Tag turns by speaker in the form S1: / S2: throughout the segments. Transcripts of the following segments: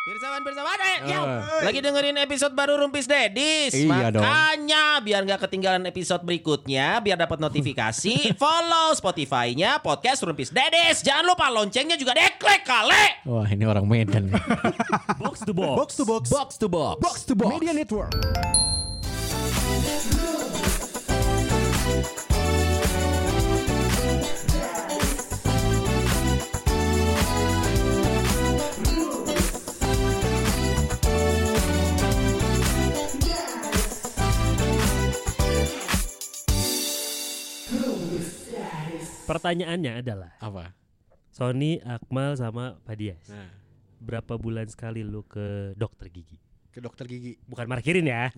S1: Pirsawan, pirsawan, eh,
S2: Eh.
S1: yo. lagi dengerin episode baru Rumpis Dedis.
S2: Iya dong.
S1: Makanya biar nggak ketinggalan episode berikutnya, biar dapat notifikasi, follow Spotify-nya podcast Rumpis Dedis. Jangan lupa loncengnya juga deklek kali.
S2: Wah ini orang Medan nih.
S3: Box to box.
S4: Box to box.
S2: box to box.
S4: Box to box.
S2: Media Network.
S3: Pertanyaannya adalah
S2: Apa?
S3: Sony, Akmal sama Pak Dias.
S2: Nah.
S3: Berapa bulan sekali lu ke dokter gigi?
S4: Ke dokter gigi.
S3: Bukan markirin ya.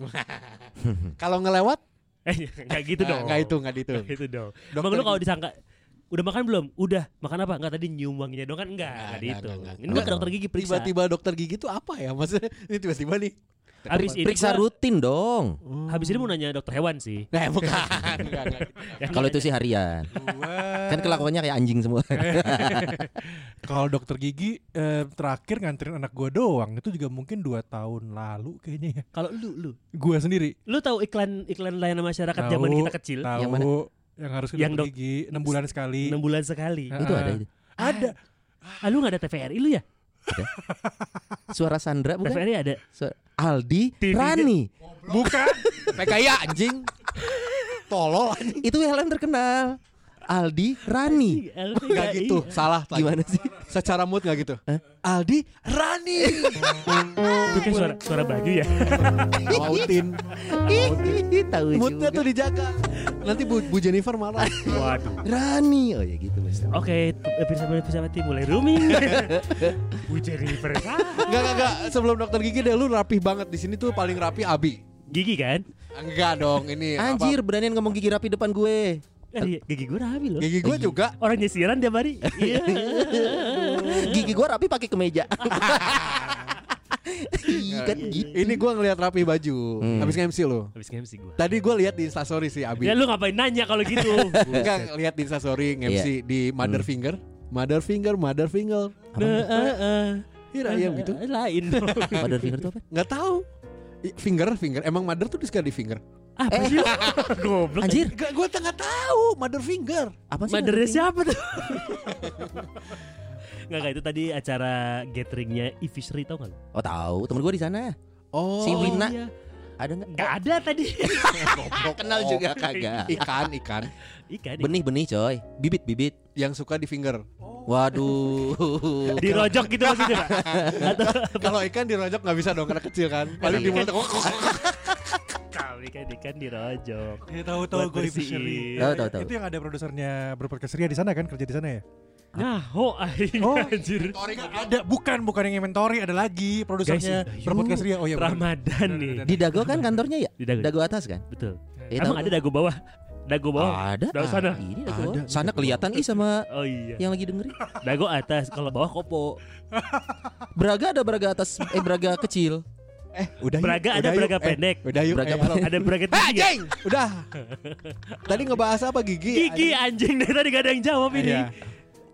S2: Hmm.
S4: Kalau ngelewat
S3: Eh, enggak gitu
S4: Nah,
S3: dong.
S4: nggak itu, nggak itu.
S3: Nggak gitu dong.
S4: Dokter
S3: Bang lu kalau
S4: gigi.
S3: disangka udah makan belum? Udah. Makan apa? Enggak tadi nyium wanginya dong kan enggak.
S4: Nggak,
S3: Enggak
S4: nggak,
S3: gitu.
S4: nggak, nggak.
S3: Ini gua ke dokter gigi periksa.
S4: tiba-tiba dokter gigi itu apa ya? Maksudnya ini tiba-tiba nih.
S3: Habis ini
S2: Periksa
S3: gua-
S2: rutin dong.
S3: Habis ini mau nanya dokter hewan sih.
S4: Nah, bukan. Nggak, nggak.
S3: Yang
S2: Kalau itu
S3: nanya-
S2: sih harian.
S4: Gua
S2: Kan kelakuannya kayak anjing semua.
S5: Kalau dokter gigi eh, terakhir nganterin anak gua doang itu juga mungkin dua tahun lalu kayaknya ya.
S3: kalau lu lu
S5: Gua sendiri.
S3: lu tahu iklan iklan layanan masyarakat zaman
S5: Tahu,
S3: kita kecil
S5: Tahu
S2: Yang
S5: yang,
S2: mana?
S5: harus ke
S3: Yang
S5: dokter
S3: dok-
S5: gigi 6 bulan sekali.
S3: 6 bulan sekali.
S4: Ah.
S5: Nah.
S2: itu ada itu.
S5: Ada.
S3: Ah, lu enggak ada TVRI lu ya?
S2: Suara Sandra bukan?
S3: TVRI ada.
S2: Suara Aldi
S3: TV.
S2: Rani.
S5: Bukan.
S4: PKI ya, anjing. Tolol anjing.
S2: Itu yang terkenal. Aldi Rani.
S4: Nggak gitu. Salah lagi.
S2: Gimana sih?
S4: Secara mood nggak gitu.
S2: Hah?
S4: Aldi Rani.
S3: Itu kayak suara suara baju ya.
S4: Mautin.
S2: Tahu
S4: Moodnya
S2: juga.
S4: tuh dijaga. Nanti Bu, Bu Jennifer marah.
S3: Waduh.
S2: Rani. Oh ya gitu Mas.
S3: Oke, episode episode mati mulai rooming. Bu Jennifer.
S4: Enggak, enggak, enggak. Sebelum dokter gigi deh lu rapih banget di sini tuh paling rapi Abi.
S3: Gigi kan?
S4: Enggak dong, ini apa-
S2: Anjir beranian ngomong gigi rapi depan gue.
S3: Eh, gigi gue rapi loh.
S4: Gigi
S2: Iya.
S4: gue juga
S3: Orang nyisiran dia hari. Iya.
S2: Gigi gue rapi pakai kemeja. Ih, kan gitu.
S4: Ini gue ngelihat rapi baju
S2: Hmm.
S4: Habis MC lo
S3: Habis nge-MC gue.
S4: Tadi gue lihat di instastory sih Abi
S3: Ya lu ngapain nanya kalau gitu?
S4: Enggak lihat di instastory nge-MC Di mother finger Mother finger, mother finger
S3: Eh, eh, eh.
S4: Iya ayam gitu
S3: Eh, Lain dong.
S2: Nah, Mother finger itu apa?
S4: Nggak tahu I- Finger, finger Emang mother tuh disuka di finger
S3: Apa sih? lu? Goblok.
S2: Anjir,
S4: Enggak, gue nggak tahu Mother finger
S2: apa sih?
S3: Mothernya siapa tuh? Nggak, nggak, itu tadi acara gatheringnya e-fishery tau gak lu?
S2: Oh tahu, temen gue di sana.
S4: Oh
S2: Si Wina
S3: iya.
S2: ada nggak?
S3: Nggak ada tadi
S2: Kenal juga kagak.
S4: Ikan, ikan
S3: Ikan ya.
S2: Benih-benih coy, bibit-bibit.
S4: Yang suka di finger
S2: Waduh.
S3: Dirojok gitu maksudnya Pak? Atau
S4: Kalau ikan dirojok nggak bisa dong Karena kecil kan
S3: Iya.
S4: Paling di
S3: Ikan-
S4: mulut
S3: Kau ikan-ikan dirojok
S5: Ya tahu-tahu
S3: Buat
S5: gue
S3: bersihin.
S5: Fishery.
S2: Tahu, tahu, tahu.
S5: Itu yang ada produsernya berpodcast Ria di sana kan kerja di sana ya?
S3: Nyaho akhirnya
S5: Oh.
S3: anjir
S4: Iya,
S5: Ada bukan bukan yang inventory ada lagi produsernya
S3: Guys, iya.
S5: berpodcast Ria. Oh ya.
S3: Ramadan nih
S2: Di Dago kan kantornya ya?
S3: Di Dago.
S2: Dago atas kan?
S3: Betul
S2: Eh,
S4: Iya,
S3: Emang
S2: tahu.
S3: ada dagu bawah? Dagu bawah?
S2: Ada.
S3: Dago sana.
S2: Ah, Ini Dago.
S4: Ada.
S2: Sana kelihatan ih sama
S3: Oh iya
S2: yang lagi dengerin.
S3: Dago atas Kalau bawah kopo
S2: Beraga ada beraga atas eh beraga kecil.
S4: Eh, udah yuk,
S3: Beraga ada
S4: udah
S3: beraga
S4: yuk. Eh,
S3: pendek.
S4: udah yuk.
S2: Beraga
S4: eh, halo.
S3: Ada bracket
S4: Ah,
S3: gigi ya?
S4: jeng! Udah. Tadi ngebahas apa gigi?
S3: Gigi anjing dari tadi gak ada yang jawab ini
S4: Iya.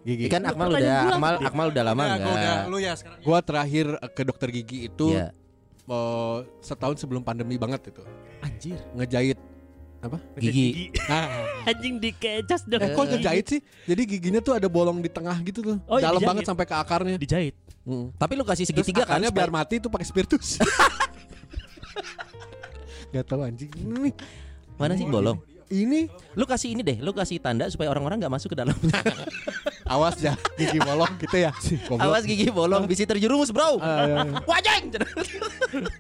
S4: Gigi.
S2: Ikan Akmal
S3: pertanyaan
S2: udah
S3: gua.
S2: Akmal Akmal udah lama
S5: Udah, gua udah
S2: enggak?
S5: lu ya sekarang.
S4: Gua terakhir eh, ke dokter gigi itu
S2: Iya.
S4: eh, setahun sebelum pandemi banget itu.
S2: Anjir.
S4: Ngejahit. Apa?
S3: Ada
S2: Gigi.
S4: Nah, eh,
S3: Anjing dikecas dong
S4: kok ngejahit sih? Jadi giginya tuh ada bolong di tengah gitu tuh.
S3: Oh, iya,
S4: Dalam
S3: dijahit.
S4: banget sampai ke akarnya.
S3: Dijahit
S4: Mm.
S2: Tapi lu kasih
S4: Terus
S2: segitiga kan?
S4: akarnya biar
S2: supaya-
S4: mati itu pakai spiritus. Gak tahu anjing. Ini,
S2: Mana sih bolong?
S4: ini
S2: Lu kasih ini deh, lu kasih tanda supaya orang-orang nggak masuk ke dalam.
S4: awas ya gigi bolong gitu ya. Si, goblok.
S2: Awas gigi bolong bisa terjerumus, Bro.
S4: Ah, iya,
S2: Wajeng.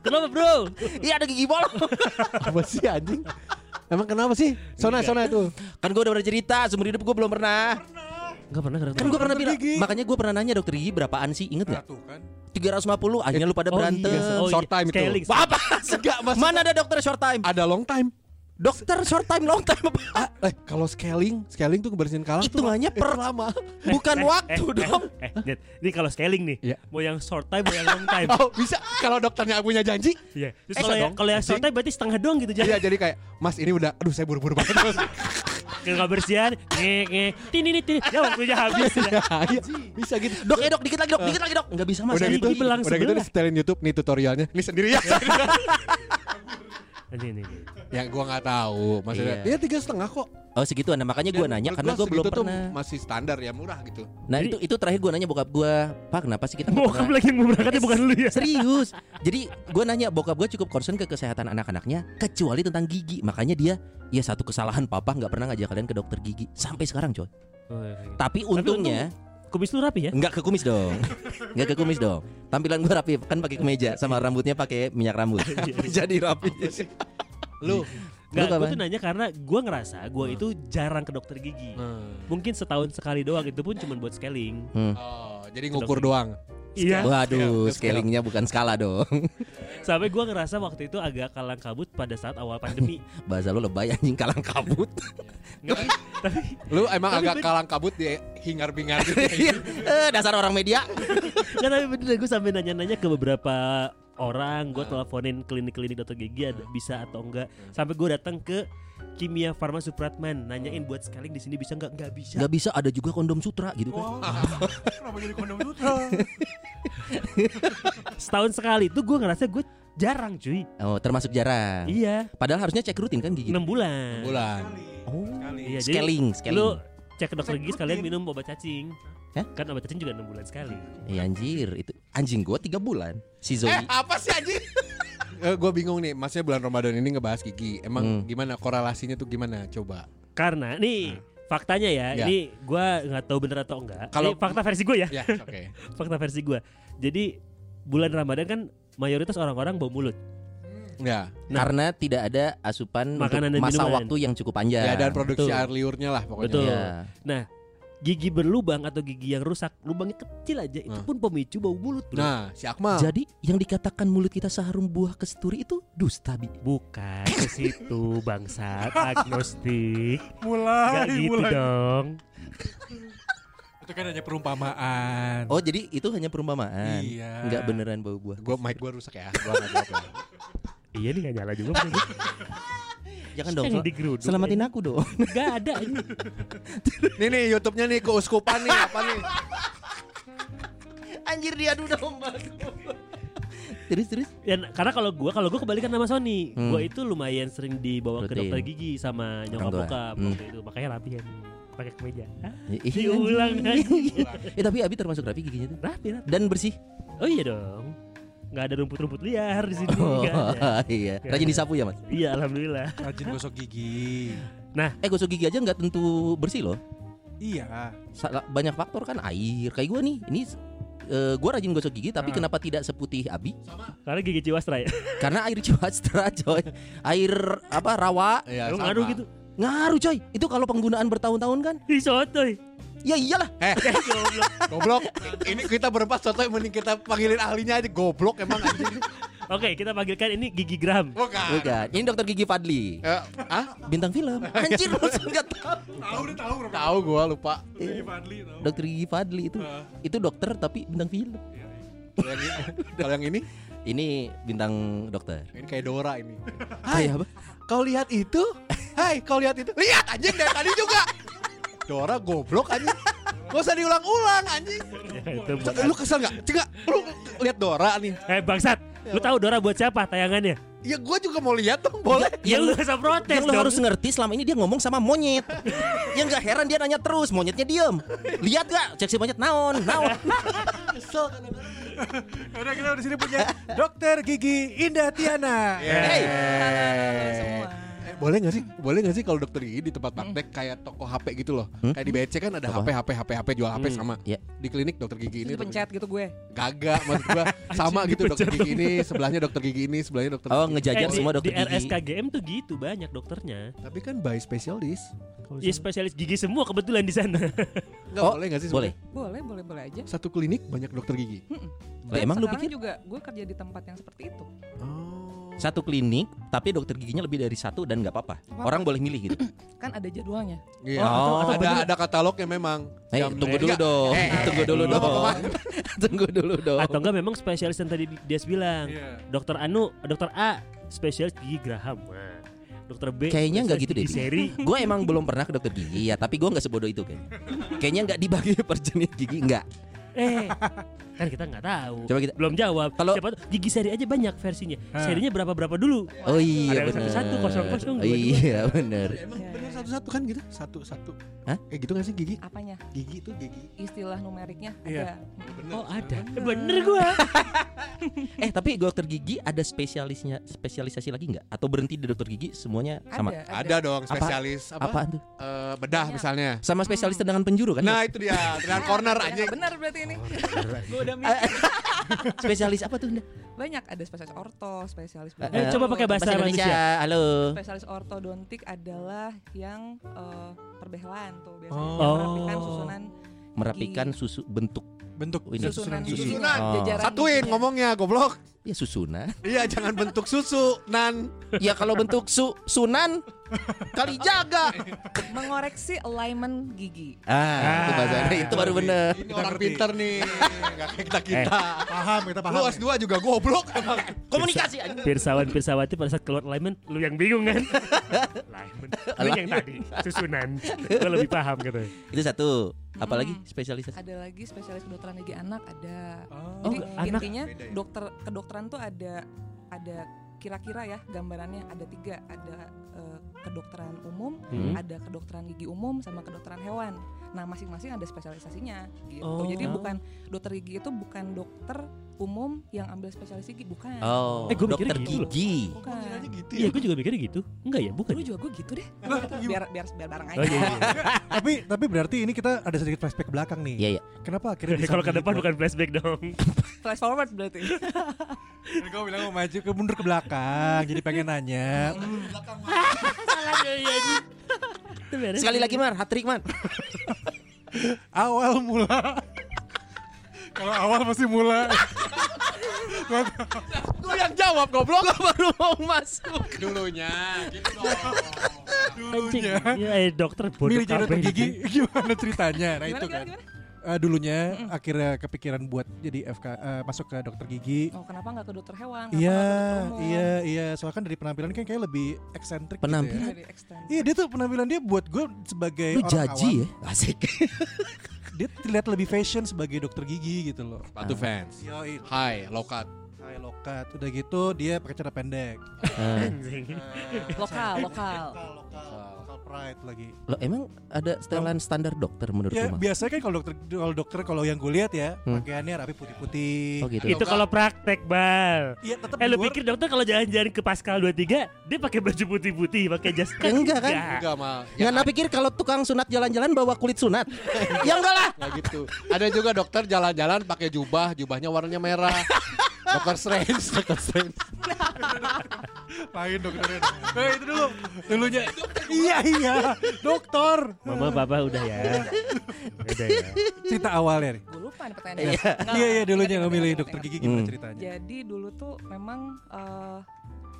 S3: Kenapa bro?
S2: Iya ada gigi bolong.
S4: apa sih anjing? Emang kenapa sih? Sona sona itu.
S2: Kan gue udah pernah cerita, seumur hidup gue belum pernah.
S3: Gak pernah
S2: Kan gue pernah
S5: Dokter
S2: bilang,
S5: gigi.
S2: makanya gue pernah nanya dokter gigi berapaan sih, inget nggak?
S5: Satu kan.
S2: 350, akhirnya lu
S3: Oh,
S2: pada berantem.
S4: Short time itu.
S3: iya. Scaling.
S2: Wah, Oh. Apa? Enggak, Mana ada dokter short time?
S4: Ada long time.
S2: Dokter short time, long time apa?
S4: Ah, eh kalau scaling, scaling tuh kebersihan kalang tuh
S2: Hitungannya per eh, lama. Eh, Bukan waktu dong.
S3: Eh, Net, ini kalau scaling nih,
S4: Iya.
S3: mau yang short time, mau yang long time.
S4: Oh bisa kalau dokternya punya janji
S3: Iya. Terus
S4: Eh,
S3: kalau yang
S4: dong,
S3: kalau yang short
S4: anjing.
S3: time berarti setengah doang gitu
S4: Iya
S3: jadi.
S4: jadi kayak Mas ini udah Aduh saya buru-buru banget Mas."
S3: kebersihan, ngek ngek, tini tini, tini. ya waktunya habis. Ya.
S4: Iya, bisa gitu.
S2: Dok, eh dok, dikit lagi dok, dikit lagi dok. Enggak bisa Mas.
S4: udah
S3: ini
S4: gitu,
S3: belang
S4: udah gitu
S3: sebelah.
S4: di setelin YouTube nih tutorialnya. Ini sendiri ya.
S3: Nanti ini.
S4: ya gua nggak tahu. Maksudnya
S2: Iya.
S4: ya tiga setengah kok.
S2: Oh segituan. Nah, makanya gue
S4: Dan
S2: nanya
S4: menurut
S2: karena
S4: Eh, gua
S2: gue belum
S4: segitu tuh
S2: pernah.
S4: masih standar ya murah gitu.
S2: Nah
S3: Jadi-
S2: itu itu terakhir gue nanya bokap gue, Pak kenapa sih kita nggak
S3: Bokap
S2: pernah-
S3: lagi yang mau berangkatnya bukan lu ya.
S2: Serius. Jadi gue nanya bokap gue cukup concern ke kesehatan anak-anaknya kecuali tentang gigi. Makanya dia ya satu kesalahan papa nggak pernah ngajak kalian ke dokter gigi sampai sekarang coy.
S3: Oh, iya,
S2: Tapi untungnya
S3: Kumis lu rapi ya?
S2: nggak ke kumis dong, nggak ke kumis dong. Tampilan gue rapi kan pakai kemeja sama rambutnya pakai minyak rambut. Jadi rapi.
S4: Lu
S2: Lu
S3: Enggak, gue
S2: apaan?
S3: tuh nanya karena gue ngerasa gue itu jarang ke dokter gigi.
S4: Hmm.
S3: Mungkin setahun sekali doang itu pun cuma buat scaling.
S2: Hmm.
S4: Oh, jadi ngukur doang.
S3: Iya.
S2: Waduh, scalingnya bukan skala dong.
S3: Sampai gue ngerasa waktu itu agak kalang kabut pada saat awal pandemi.
S2: Bahasa lu lebay anjing kalang kabut.
S3: Enggak, tapi
S4: Lu emang
S3: Tapi
S4: agak
S3: ben-
S4: kalang kabut di hingar-bingar gitu.
S2: Iya, eh, dasar orang media.
S3: Nggak tapi bener gue sampai nanya-nanya ke beberapa orang gue teleponin klinik-klinik dokter gigi ada bisa atau enggak sampai gue datang ke Kimia Farma Supratman nanyain buat scaling di sini bisa nggak nggak bisa
S2: Gak bisa ada juga kondom sutra gitu kan.
S3: Oh.
S5: Kenapa jadi kondom sutra?
S3: setahun sekali itu gue ngerasa gue jarang cuy
S2: Oh, termasuk jarang.
S3: iya
S2: Padahal harusnya cek rutin kan gigi.
S3: enam bulan
S4: Bulan.
S2: Oh.
S3: iya jadi
S2: Scaling, scaling.
S3: lu cek ke dokter gigi
S5: rutin.
S3: sekalian minum obat cacing
S2: Hah?
S3: kan obat cacing juga enam bulan sekali
S2: Iya anjir, itu anjing gua tiga bulan. Si Zoe.
S4: Eh apa sih anjing? gue bingung nih, maksudnya bulan Ramadan ini ngebahas gigi. Emang
S2: Hmm.
S4: gimana korelasinya tuh gimana? Coba.
S3: karena nih faktanya
S4: Ya.
S3: ya ini gue nggak tahu bener atau enggak
S4: Kalau-
S3: ini fakta versi gue ya
S4: Ya, oke.
S3: fakta versi gue jadi bulan Ramadan kan mayoritas orang-orang bau mulut
S4: Ya.
S3: nah.
S2: Karena tidak ada asupan
S3: Makanan
S2: untuk
S3: dan
S2: masa
S3: minuman.
S2: waktu yang cukup panjang.
S4: Ya dan produksi
S3: betul.
S4: air liurnya lah pokoknya.
S3: Betul.
S2: Iya.
S3: gigi berlubang atau gigi yang rusak lubangnya kecil aja itu
S4: Nah.
S3: pun pemicu bau mulut bro
S4: Nah, si
S3: Ah.
S4: Akmal.
S2: Jadi yang dikatakan mulut kita seharum buah kesturi itu dusta bi.
S3: bukan ke situ bangsa agnostik
S5: mulai,
S3: Gak gitu
S5: mulai.
S3: dong
S5: Itu kan hanya perumpamaan.
S2: Oh jadi itu hanya perumpamaan.
S5: Iya.
S2: Nggak beneran bau buah.
S4: Gue mic gue rusak ya. Gua nggak jawab ya.
S3: iya nih gak nyala juga
S2: Jangan dong.
S3: Yang
S2: sel-
S3: digeruduk
S2: Selamatin aku dong.
S3: gak ada ini
S4: Nih nih YouTube-nya nih keuskupan nih apa nih?
S2: Anjir diadu domba. terus terus.
S3: Ya, karena kalau gua kalau gua kebalikan sama Sony
S2: Hmm.
S3: gua itu lumayan sering dibawa ke
S2: Rutin.
S3: dokter gigi sama nyokap
S2: tua.
S3: bokap
S2: Hmm.
S3: waktu itu makanya latihan pakai kemeja Hah?
S2: Ih, anjing.
S3: diulang lagi
S2: Eh tapi Abi termasuk rapi giginya tuh.
S3: rapi rapi
S2: Dan bersih.
S3: oh iya dong nggak ada rumput-rumput liar di sini nggak
S2: Oh,
S3: ada.
S2: iya.
S3: Nggak
S2: Rajin
S3: ada.
S2: disapu ya mas.
S3: Iya alhamdulillah.
S5: Rajin gosok gigi.
S2: Eh gosok gigi aja nggak tentu bersih loh.
S5: Iya.
S2: Salah- banyak faktor kan air. Kayak gue nih, ini eh, gue rajin gosok gigi tapi
S5: Ah.
S2: kenapa tidak seputih Abi?
S3: Karena gigi Ciwastra ya.
S2: Karena air Ciwastra coy. Air apa rawa
S4: Iya,
S3: Lu
S4: sama.
S3: ngaruh gitu.
S2: ngaruh coy. Itu kalau penggunaan bertahun-tahun kan?
S3: Ih sotoy.
S2: Ya iyalah.
S4: Eh, goblok. Ini kita berempat sotoy mending kita panggilin ahlinya aja goblok emang anjing.
S3: Oke, kita panggilkan ini gigi Gram.
S4: Bukan.
S2: Bukan. Ini dokter gigi Fadli.
S4: Eh, ah,
S2: Bintang film. Iya. Anjir lu enggak tahu.
S5: Tahu udah tahu berapa.
S4: tahu gua lupa.
S2: Eh.
S5: Iya, Fadli tahu.
S2: Dokter gigi Fadli itu itu dokter tapi bintang film.
S4: Kalau yang ini- Kalau yang ini,
S2: Ini bintang dokter.
S4: ini kayak Dora ini.
S2: Kayak apa?
S4: Kau lihat itu? Hai, kau lihat itu? Lihat anjing dari tadi juga. Dora goblok anjing. Gak usah diulang-ulang anjing.
S3: Ya, itu
S4: Cek,
S3: bukan.
S4: Lu kesel gak? Cek gak? Lu lihat Dora nih.
S3: Eh bangsat, lu tahu Dora buat siapa tayangannya?
S4: Ya gue juga mau lihat dong, boleh.
S3: Ya lu
S2: Yang-
S3: gak usah protes
S2: Yang lo
S3: dong.
S2: harus ngerti selama ini dia ngomong sama monyet Yang gak heran dia nanya terus Monyetnya diem Lihat gak? Cek si monyet naon Naon
S4: Kesel kan.
S5: Udah kita di sini punya Dokter Gigi Indah Tiana.
S4: Hey. Eh, Boleh gak sih? Boleh gak sih kalau dokter gigi di tempat praktek kayak toko HP gitu loh.
S2: Hmm?
S4: Kayak di BC kan ada
S2: Apa?
S4: HP, HP, HP, HP jual HP sama.
S2: Iya.
S4: Di klinik dokter gigi ini
S6: Itu pencet gitu gue.
S4: gagak maksud gua. sama gitu dokter gigi ini, sebelahnya dokter gigi ini, sebelahnya dokter
S2: Oh,
S4: gigi.
S3: Eh,
S2: ngejajar
S3: di-
S2: semua dokter
S3: di
S2: gigi.
S3: RSKGM tuh gitu banyak dokternya.
S4: Tapi kan by specialist.
S3: Ya spesialis gigi semua kebetulan di sana.
S4: Enggak
S2: Oh,
S4: boleh gak sih?
S2: Boleh
S6: Boleh, boleh, boleh aja.
S4: sebenarnya? Satu klinik banyak dokter gigi.
S2: Lah, Emang lu
S6: Sekarang
S2: pikir
S6: juga gue kerja di tempat yang seperti itu.
S4: Oh.
S2: Satu klinik Tapi dokter giginya lebih dari satu Dan gak apa-apa
S6: apa-apa.
S2: Orang boleh milih gitu
S6: Kan ada jadwalnya.
S4: Iya.
S2: Oh, atau- atau
S4: ada ada katalognya memang.
S2: Eh,
S4: Jam-
S2: Tunggu dulu
S4: Enggak.
S2: dong
S4: Ya, Eh,
S2: Tunggu dulu
S4: lu mau
S2: dong Tunggu dulu dong
S3: Atau enggak memang spesialis yang tadi Dias bilang.
S5: Iya.
S3: Dokter Anu, dokter A spesialis gigi Graham. Nah, dokter B
S2: Kayaknya nggak gitu deh,
S3: Di
S2: Bi.
S3: seri
S2: gue emang belum pernah ke dokter gigi ya tapi gue nggak sebodoh itu kayaknya kayaknya nggak dibagi per jenis gigi nggak
S3: Eh kan kita nggak tahu
S2: Coba kita-
S3: belum jawab
S2: Kalau-
S3: Siapa tahu- gigi seri aja banyak versinya
S5: Ah.
S3: serinya berapa berapa dulu
S2: oh iya
S3: Ada yang
S2: benar
S3: satu-satu, kosong-kosong, dua-dua.
S2: iya benar
S4: Emang
S6: Iya,
S4: bener
S6: iya.
S4: satu-satu kan gitu? Satu-satu.
S2: Hah?
S4: Eh gitu gak sih gigi?
S6: Apanya?
S4: Gigi tuh gigi.
S6: Istilah numeriknya
S5: Iya.
S6: ada.
S3: oh ada bener gua
S2: eh tapi dokter gigi ada spesialisnya spesialisasi lagi nggak atau berhenti di dokter gigi semuanya sama
S6: Ada, ada.
S4: Ada dong spesialis apa?
S2: apaan tuh
S4: Eh, bedah
S6: Banyak.
S4: misalnya.
S2: sama spesialis tendangan penjuru kan
S4: Nah itu dia, dengan corner
S6: Ya,
S4: anjing.
S6: Benar berarti ini. Gua udah mikir.
S2: spesialis apa tuh Nda?
S6: Banyak ada spesialis orto, spesialis
S2: Eh,
S6: bedah.
S3: coba pakai bahasa
S2: Bahasa Indonesia halo
S6: Spesialis ortodontik adalah yang eh, perbelaan tuh biasanya
S5: Oh.
S6: yang merapikan susunan
S2: merapikan susu bentuk
S5: bentuk
S2: Ini.
S6: susunan
S5: gigi.
S6: giginya,
S4: Susunan.
S2: Oh.
S6: jajaran
S4: Satuin
S6: giginya.
S4: ngomongnya goblok.
S2: ya susuna
S4: Iya jangan bentuk susu nan.
S2: ya kalau bentuk su sunan kali jaga
S6: mengoreksi alignment gigi.
S2: ah itu bahasa itu baru bener
S4: Ini
S5: Kita
S4: orang
S5: ngerti.
S4: pinter nih. Gak kayak kita kita.
S5: Paham kita paham.
S4: Lu S2 juga goblok emang.
S1: Komunikasi aja.
S3: pirsawan pirsawati pada saat keluar alignment lu yang bingung kan alignment lu yang tadi susunan gua lebih paham gitu
S2: itu satu apalagi
S6: Mm.
S2: spesialisasi
S6: Ada lagi spesialis kedokteran gigi anak ada.
S5: Oh.
S3: Oh,
S6: Jadi
S3: anak.
S6: intinya
S4: Beda ya?
S6: dokter kedokteran tuh ada ada kira-kira ya gambarannya ada tiga ada eh, kedokteran umum,
S2: Hmm.
S6: ada kedokteran gigi umum sama kedokteran hewan. Nah masing-masing ada spesialisasinya gitu.
S3: Oh.
S6: Jadi bukan dokter gigi itu bukan dokter umum yang ambil spesialis gigi bukan.
S2: oh
S3: Eh, gua mikirnya
S2: dokter
S3: gitu loh.
S2: gigi
S6: Bukan.
S4: gitu
S3: iya gua juga mikirnya gitu enggak ya bukan
S6: Dulu juga gue gitu deh.
S5: Iya.
S6: biar biar biar bareng aja.
S3: Oh, iya, iya.
S5: tapi tapi berarti ini kita ada sedikit flashback ke belakang nih.
S2: Iya, iya.
S5: Kenapa akhirnya gitu? bisa
S3: kalau ke
S5: begitu?
S3: depan bukan flashback dong
S6: Flash forward berarti.
S5: Kan Kau bilang mau maju ke Hmm. mundur ke belakang. jadi pengen nanya.
S2: sekali lagi mar hatrik man
S5: Awal mula. kalau awal pasti mula.
S4: Gue yang jawab goblok.
S2: baru mau masuk
S4: Dulunya gitu dong.
S3: anjing
S5: Dulunya.
S3: ya eh, dokter bodoh
S5: Iya. Milih jadi dokter
S3: kabeh.
S5: gigi gimana ceritanya? Nah itu
S6: Gimana,
S5: kan.
S6: gimana, gimana?
S5: Eh, dulunya akhirnya kepikiran buat jadi FK eh, masuk ke dokter gigi.
S6: Oh kenapa nggak ke dokter hewan? Kenapa
S5: Iya,
S6: nggak ke dokter umum?
S5: iya, iya. Soalnya kan dari penampilan kan kayak lebih eksentrik.
S2: Penampilan?
S5: Gitu ya.
S6: Dari extend.
S5: Iya dia tuh penampilan dia buat gue sebagai
S2: lu
S5: orang
S2: jaji
S5: awam,
S2: ya asik
S5: dia terlihat lebih fashion sebagai dokter gigi gitu loh.
S4: Batu fans.
S5: Yoi,
S4: Hai, lokat.
S5: high lokat. Udah gitu dia pakai cara pendek.
S2: Ah.
S3: Anjing.
S6: Eh, Lokal, lokal.
S5: Lokal, lokal, lokal pride lagi.
S2: lo emang ada setelan standar dokter menurut
S5: Ya
S2: lu Mang?
S5: biasanya kan kalau dokter kalau dokter kalau yang gue lihat ya
S2: Hmm.
S5: pakaiannya rapi putih-putih.
S2: oh gitu
S3: itu kalau praktek bal
S5: Iya tetap
S3: Eh
S5: di
S3: lu
S5: luar-
S3: pikir dokter kalau jalan-jalan ke Pascal 23 Dia pakai baju putih-putih pakai jas
S2: Ya enggak kan?
S4: Enggak mah.
S2: Nggak nah, pikir kalau tukang sunat jalan-jalan bawa kulit sunat ya enggak lah
S4: Nggak gitu. Ada juga dokter jalan-jalan pakai jubah, jubahnya warnanya merah. Dokter Strange, Dokter Strange.
S5: Pahin dokternya. nah, itu dulu. Dulunya. iya iya. Dokter.
S3: Mama papa udah ya Udah ya
S5: Cerita awalnya nih.
S6: Gue lupa nih pertanyaannya. Nggak,
S5: Iya iya dulunya
S6: ingat,
S5: lo
S6: ingat,
S5: milih
S6: ingat,
S5: dokter
S6: ingat.
S5: gigi gimana
S2: Hmm.
S5: ceritanya?
S6: Jadi dulu tuh memang eh,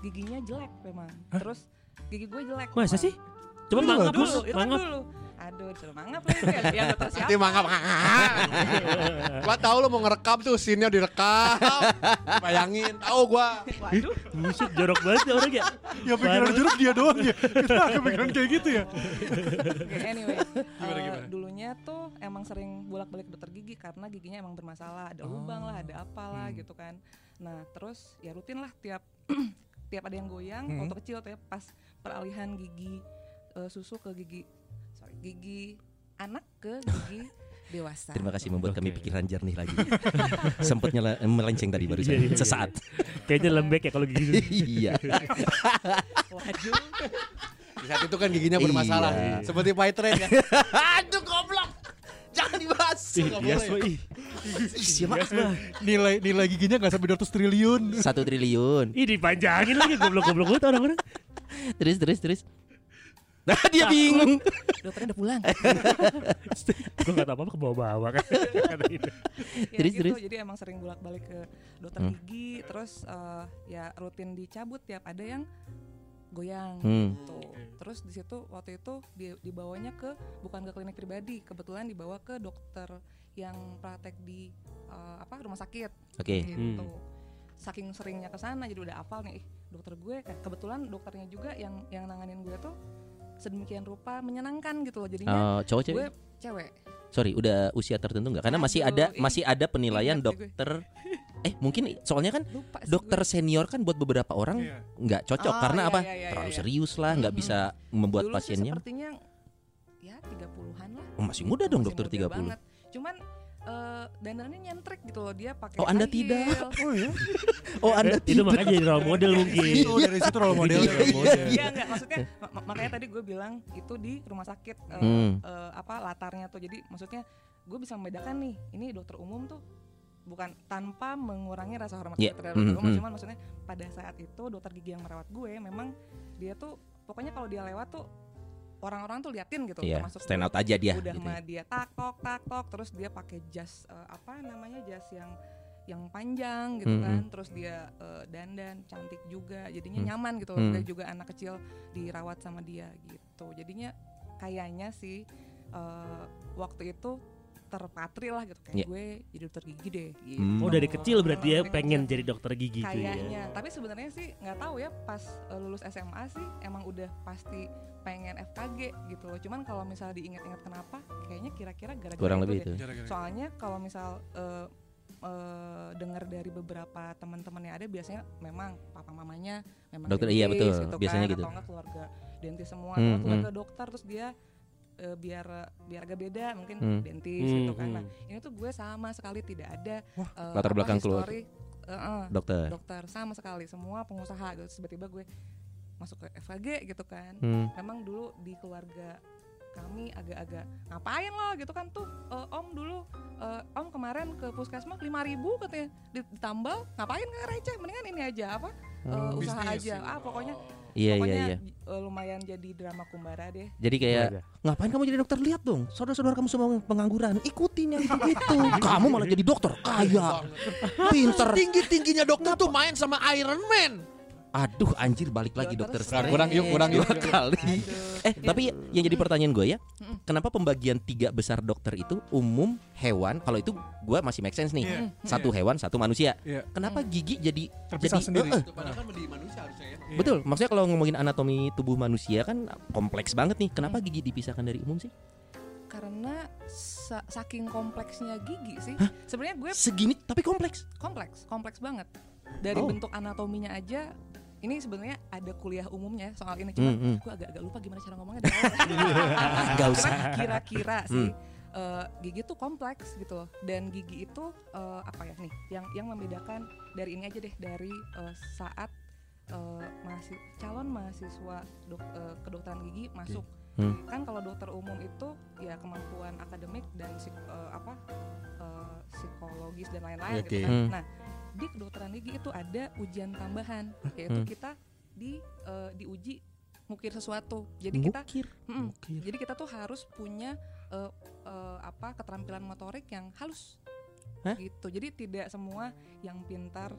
S6: giginya jelek memang. Terus gigi gue jelek.
S3: Masa
S6: memang.
S3: sih? Coba
S5: Dulu,
S3: mangap
S6: Dulu,
S3: dulu
S6: itu kan
S3: Mangap
S6: dulu. Aduh, disuruh mangap lagi kan. Yang dokter siapa?
S4: Nanti mangap. gua tahu lo mau ngerekam tuh, scene-nya direkam. Bayangin, tahu gua.
S6: Waduh,
S3: Buset jorok banget ya orang ya
S5: Ya pikiran
S3: Baru-
S5: jeruk dia doang ya. Kita kepikiran kayak gitu ya.
S6: Oke, anyway. eh, dulunya tuh emang sering bolak-balik ke dokter gigi karena giginya emang bermasalah. Ada lubang lah, ada apalah gitu kan. Nah, terus ya rutin lah tiap tiap ada yang goyang
S5: Hmm.
S6: waktu kecil tuh ya pas peralihan gigi eh, susu ke gigi sorry, gigi anak ke gigi dewasa.
S2: terima kasih membuat kami
S3: Oke.
S2: pikiran jernih lagi sempet nyela- melenceng tadi baru
S3: Iya, iya, iya.
S2: sesaat
S3: Kayaknya lembek ya kalau gitu
S2: iya
S6: Waduh.
S4: Di saat itu kan giginya bermasalah.
S2: Iya.
S4: Seperti Pak Train
S5: kan?
S4: ya.
S5: Iya.
S1: Aduh goblok. Jangan dibahas.
S2: iya,
S3: Bias mah ih Bias mah
S5: Nilai nilai giginya nggak sampai 200 triliun.
S2: satu triliun
S3: Ih dipanjangin lagi goblok-goblok banget orang-orang
S2: terus terus terus nah dia bingung
S6: Dokternya udah pulang.
S3: Gue gak tau apa-apa ke bawah-bawah kan Kata gitu.
S6: ya
S2: Terus,
S6: gitu.
S2: terus.
S6: Jadi emang sering bolak-balik ke dokter
S2: Hmm.
S6: gigi, terus eh, ya rutin dicabut tiap ada yang goyang.
S2: Hmm.
S6: Tuh. Gitu. Terus di situ waktu itu di- dibawanya ke bukan ke klinik pribadi, kebetulan dibawa ke dokter yang praktek di eh, apa rumah sakit
S2: oke
S6: gitu. Saking seringnya ke sana jadi udah hafal nih, ih, dokter gue kayak kebetulan dokternya juga yang yang nanganin gue tuh sedemikian rupa menyenangkan gitu loh jadinya
S2: Eh, cowok cewek?
S6: gue cewek
S2: Sorry, udah usia tertentu nggak? Karena masih
S6: Aduh,
S2: ada
S6: ih,
S2: masih ada penilaian
S6: ingat sih gue.
S2: dokter. Eh mungkin soalnya kan
S6: lupa sih
S2: dokter senior kan buat beberapa orang
S5: Iya.
S2: nggak cocok
S6: Ah,
S2: karena
S6: iya,
S2: apa?
S6: iya, iya,
S2: Terlalu
S6: iya.
S2: serius lah, nggak
S6: Mhm.
S2: bisa membuat
S6: Dulu sih
S2: pasiennya.
S6: sepertinya ya 30-an lah.
S2: Oh, masih muda dong
S6: Masih
S2: dokter
S6: muda
S2: 30.
S6: banget. Cuman eh dandanannya nyentrik gitu loh dia pakai
S2: Oh, Anda
S6: high
S2: tidak.
S6: heel.
S5: Oh iya.
S2: Oh,
S3: Eh,
S2: Anda Iya,
S3: itu
S2: tidak.
S3: makanya jadi role model mungkin
S5: Itu dari situ role model.
S2: Iya,
S5: role
S2: iya,
S5: model.
S6: Iya enggak maksudnya ma- ma- makanya tadi gue bilang itu di rumah sakit eh,
S2: Hmm.
S6: eh, apa latarnya tuh. Jadi maksudnya gue bisa membedakan nih ini dokter umum tuh bukan tanpa mengurangi rasa hormat
S2: Iya,
S6: kita terhadap dokter
S2: mhm,
S6: umum
S2: mhm.
S6: cuman maksudnya pada saat itu dokter gigi yang merawat gue memang dia tuh pokoknya kalau dia lewat tuh orang-orang tuh liatin gitu
S2: Iya,
S6: termasuk
S2: stand
S6: gue.
S2: out aja dia.
S6: udah
S2: gitu
S6: mah
S2: ya.
S6: dia takok takok terus dia pakai jas eh, apa namanya jas yang yang panjang gitu
S2: Mm-mm.
S6: kan terus dia eh, dandan cantik juga jadinya
S2: Mm.
S6: nyaman gitu
S2: Mm.
S6: dan juga anak kecil dirawat sama dia gitu jadinya kayaknya sih eh, waktu itu terpatri lah gitu kayak
S2: Iya.
S6: gue jadi dokter gigi deh gitu.
S2: Hmm.
S3: Oh dari kecil berarti ya
S6: Dari
S3: pengen
S6: kecil.
S3: jadi dokter gigi
S2: gitu
S3: tuh ya
S6: kayaknya tapi sebenarnya sih nggak tahu ya pas eh, lulus SMA sih emang udah pasti pengen FKG gitu loh cuman kalau misalnya diingat-ingat kenapa kayaknya kira-kira gara-gara
S2: Kurang
S6: itu
S2: lebih
S6: deh.
S2: itu.
S5: Gara-gara.
S6: soalnya kalau misal eh, eh, dengar dari beberapa teman-teman yang ada biasanya memang papa mamanya memang
S2: Dokter, iya,
S6: dentis
S2: betul. Biasanya
S6: kan,
S2: gitu.
S6: atau enggak keluarga dentis semua
S2: Hmm,
S6: atau keluarga
S2: hmm.
S6: dokter terus dia eh, biar biar agak beda mungkin
S2: Hmm.
S6: dentis
S3: Hmm,
S6: gitu kan nah
S3: hmm.
S6: ini tuh gue sama sekali tidak ada
S5: Wah,
S6: eh,
S2: latar
S6: apa,
S2: belakang keluar-
S6: history, eh, eh,
S2: Dokter.
S6: dokter sama sekali semua pengusaha gitu Terus tiba-tiba gue masuk ke FKG gitu kan
S2: Hmm.
S6: memang dulu di keluarga kami agak-agak ngapain lo gitu kan tuh eh, om dulu eh, om kemarin ke puskesmas 5000 katanya Di- ditambal ngapain nggak receh mendingan ini aja apa eh, usaha aja ah pokoknya
S2: Hmm. Iya iya
S6: pokoknya
S2: iya.
S6: j- eh, lumayan jadi drama kumbara deh
S2: Jadi kayak
S3: Iya.
S2: ngapain kamu jadi dokter? Lihat dong, saudara-saudara kamu semua yang pengangguran, ikutin yang Iya. itu. kamu malah jadi dokter, kaya, pinter.
S4: Tinggi tingginya dokter tuh main sama Iron Man.
S2: Aduh anjir balik lagi dokter.
S6: Strange.
S4: Kurang yuk, kurang yuk.
S2: Dua kali.
S6: Aduh.
S2: Eh tapi yang jadi pertanyaan gue ya,
S6: Mm-mm.
S2: kenapa pembagian tiga besar dokter itu umum hewan? Kalau itu gue masih make sense nih,
S5: Iya.
S2: satu hewan, satu manusia.
S5: Iya.
S2: Kenapa gigi jadi
S5: Terpisah
S2: jadi-
S5: sendiri.
S2: eh, eh,
S4: Padahal kan di manusia harusnya ya.
S5: Iya.
S2: betul? Maksudnya kalau ngomongin anatomi tubuh manusia kan kompleks banget nih. Kenapa gigi dipisahkan dari umum sih?
S6: karena sa- saking kompleksnya gigi sih sebenarnya gue
S2: Segini tapi kompleks.
S6: kompleks kompleks banget dari
S2: Oh.
S6: bentuk anatominya aja ini sebenarnya ada kuliah umumnya soal ini cuman
S2: Hmm, hmm.
S6: gue agak-agak lupa gimana cara ngomongnya dari awal.
S2: Gak usah. Hmm.
S6: Cuman kira-kira sih eh, gigi tuh kompleks gitu loh dan gigi itu eh, apa ya nih yang yang membedakan dari ini aja deh dari eh, saat eh, mahasi- calon mahasiswa dok- eh, kedokteran gigi masuk
S2: Hmm.
S6: kan kalau dokter umum itu ya kemampuan akademik dan psik- eh, apa eh, psikologis dan lain-lain gitu
S4: Oke.
S6: kan
S2: Hmm.
S6: nah di kedokteran gigi itu ada ujian tambahan yaitu
S2: Hmm.
S6: kita di eh, diuji mukir sesuatu jadi kita mm,
S2: Mukir.
S6: Mm-mm.
S2: Mukir.
S6: jadi kita tuh harus punya eh, eh, apa keterampilan motorik yang halus
S2: Hah?
S6: gitu jadi tidak semua yang pintar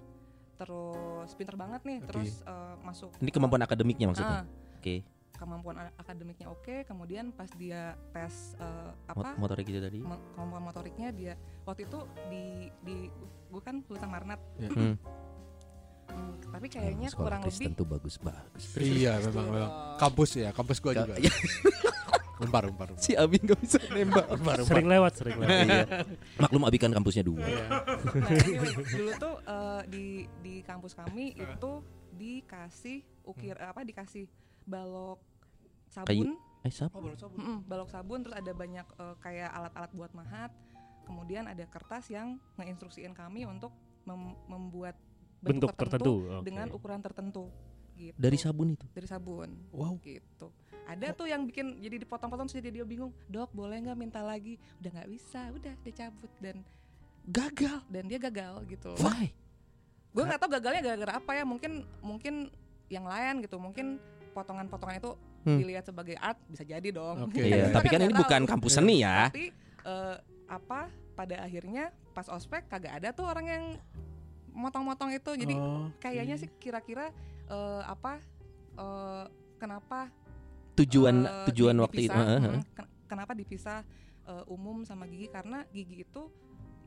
S6: terus pintar banget nih
S5: Oke.
S6: terus eh, masuk
S2: Ini kemampuan akademiknya
S6: Ah,
S2: maksudnya. Oke.
S6: kemampuan a- akademiknya oke kemudian pas dia tes eh,
S2: Mot
S6: apa
S2: Motorik itu gitu tadi.
S6: mo- kemampuan motoriknya dia waktu itu di di gue kan lulusan Marnat
S2: Hmm.
S6: Hmm, tapi kayaknya
S2: Sekolah
S6: kurang
S2: Kristen
S6: lebih
S2: tuh bagus-bagus.
S4: Iya memang
S2: eh,
S4: memang. Kampus ya, kampus gua juga.
S2: Ya,
S4: Umpar umpar. umpar.
S2: si Abi nggak bisa nembak.
S3: Sering lewat, sering lewat.
S2: Iya. Maklum Abi kan kampusnya dua.
S6: Nah, anyway, dulu tuh eh, di di kampus kami itu dikasih ukir apa dikasih balok sabun,
S2: Eh siapa?
S6: Mm-mm, balok sabun terus ada banyak eh, kayak alat-alat buat mahat. Kemudian ada kertas yang ngeinstruksiin kami untuk mem- membuat
S3: Bentuk tertentu. oke.
S6: dengan ukuran tertentu gitu.
S2: Dari sabun itu.
S6: dari sabun
S5: Wow.
S6: gitu. Ada tuh yang bikin jadi dipotong-potong terus jadi dia bingung, "Dok, boleh nggak minta lagi?" Udah nggak bisa, udah dicabut dan gagal dan dia gagal gitu.
S2: Why?
S6: gue nggak tahu gagalnya gara-gara apa ya mungkin mungkin yang lain gitu mungkin potongan-potongan itu
S2: Hmm.
S6: dilihat sebagai art bisa jadi dong
S4: Oke.
S2: Iya,
S6: Kita
S2: tapi kan
S6: nggak
S2: ini
S6: tahu.
S2: bukan kampus seni ya.
S6: tapi eh, apa pada akhirnya pas ospek kagak ada tuh orang yang motong-motong itu jadi
S5: Oh.
S6: kayaknya sih kira-kira eh, apa eh, kenapa
S2: Tujuan
S6: eh,
S2: tujuan
S6: di-
S2: waktu itu.
S6: dipisah,
S2: Heeh.
S6: mm, ken- kenapa dipisah eh, umum sama gigi karena gigi itu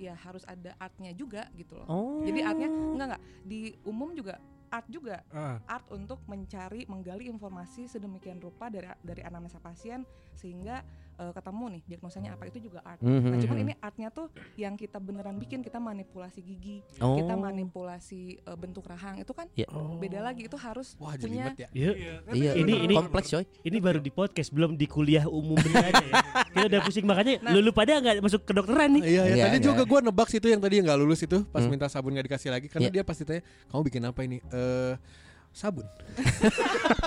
S6: ya harus ada artnya juga gitu loh
S2: Oh.
S6: jadi artnya enggak enggak di umum juga art juga
S5: Ah,
S6: art untuk mencari menggali informasi sedemikian rupa dari dari anamnesa pasien sehingga eh, ketemu nih diagnosanya apa itu juga art.
S2: Hmm,
S6: Nah, cuman ini artnya tuh yang kita beneran bikin kita manipulasi gigi,
S2: Oh.
S6: kita manipulasi eh, bentuk rahang itu kan
S2: Ya.
S6: beda lagi itu harus
S4: Wah jadi
S6: punya
S4: limet ya.
S3: Iya.
S2: Iya,
S3: Ini- ini-
S2: kompleks coy.
S3: Ini baru di podcast, belum di kuliah umum beneran ya. Kita udah pusing makanya
S6: Nah.
S3: lu, lu pada nggak masuk kedokteran nih.
S4: Iya, ya,
S2: Iya,
S4: tadi
S2: iya.
S4: juga gue nebak situ yang tadi yang nggak lulus itu pas
S2: Hmm.
S4: minta sabun nggak dikasih lagi karena
S2: Iya.
S4: dia pasti tanya kamu bikin apa ini? Eh sabun.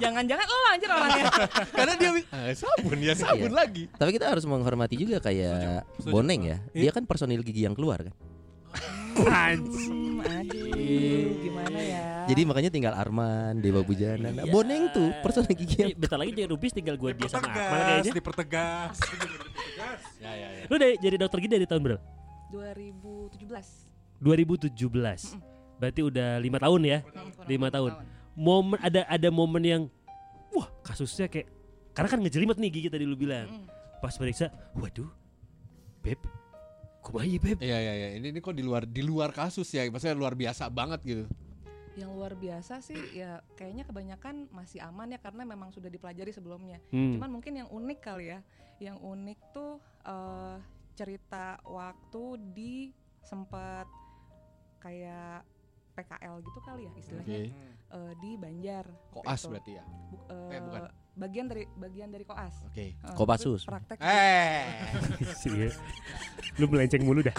S6: jangan-jangan lo anjir orangnya.
S4: karena dia "Ah, sabun
S2: Iya.
S4: ya sabun lagi.
S2: Tapi kita harus menghormati juga kayak
S5: Setuju.
S2: Boneng ya. Dia kan personil gigi yang keluar kan.
S6: Hmm, aduh, gimana ya?
S2: Jadi makanya tinggal Arman, Dewa Bujana. Nah, Boneng tuh personil gigi yang
S3: Iya, Bentar lagi jadi rupis tinggal gue dia sama Akmal
S5: dipertegas,
S3: kayaknya.
S5: dipertegas.
S3: Lu dari, jadi dokter gigi dari tahun berapa?
S6: 2017.
S3: 2017. Berarti udah lima tahun ya.
S6: Kurang
S3: Lima
S6: lebih
S3: tahun. Momen ada ada momen yang wah kasusnya kayak karena kan ngejelimet nih gigi tadi lu bilang.
S6: Mm.
S3: Pas meriksa, waduh, beb, kumaha ya beb?
S4: Iya iya iya ini ini kok di luar di luar kasus ya maksudnya luar biasa banget gitu.
S6: Yang luar biasa sih ya kayaknya kebanyakan masih aman ya karena memang sudah dipelajari sebelumnya.
S3: Hmm.
S6: Cuman mungkin yang unik kali ya. Yang unik tuh eh, cerita waktu di sempat kayak PKL gitu kali ya istilahnya
S4: Oke.
S6: eh, di Banjar. waktu
S4: Koas
S6: itu.
S4: berarti ya.
S6: Bu- eh,
S4: Eh, bukan.
S6: Bagian dari bagian dari koas.
S4: Oke.
S6: Eh,
S2: Kopassus.
S6: tapi Praktek
S4: Eh.
S3: Iya. lu melenceng mulu dah.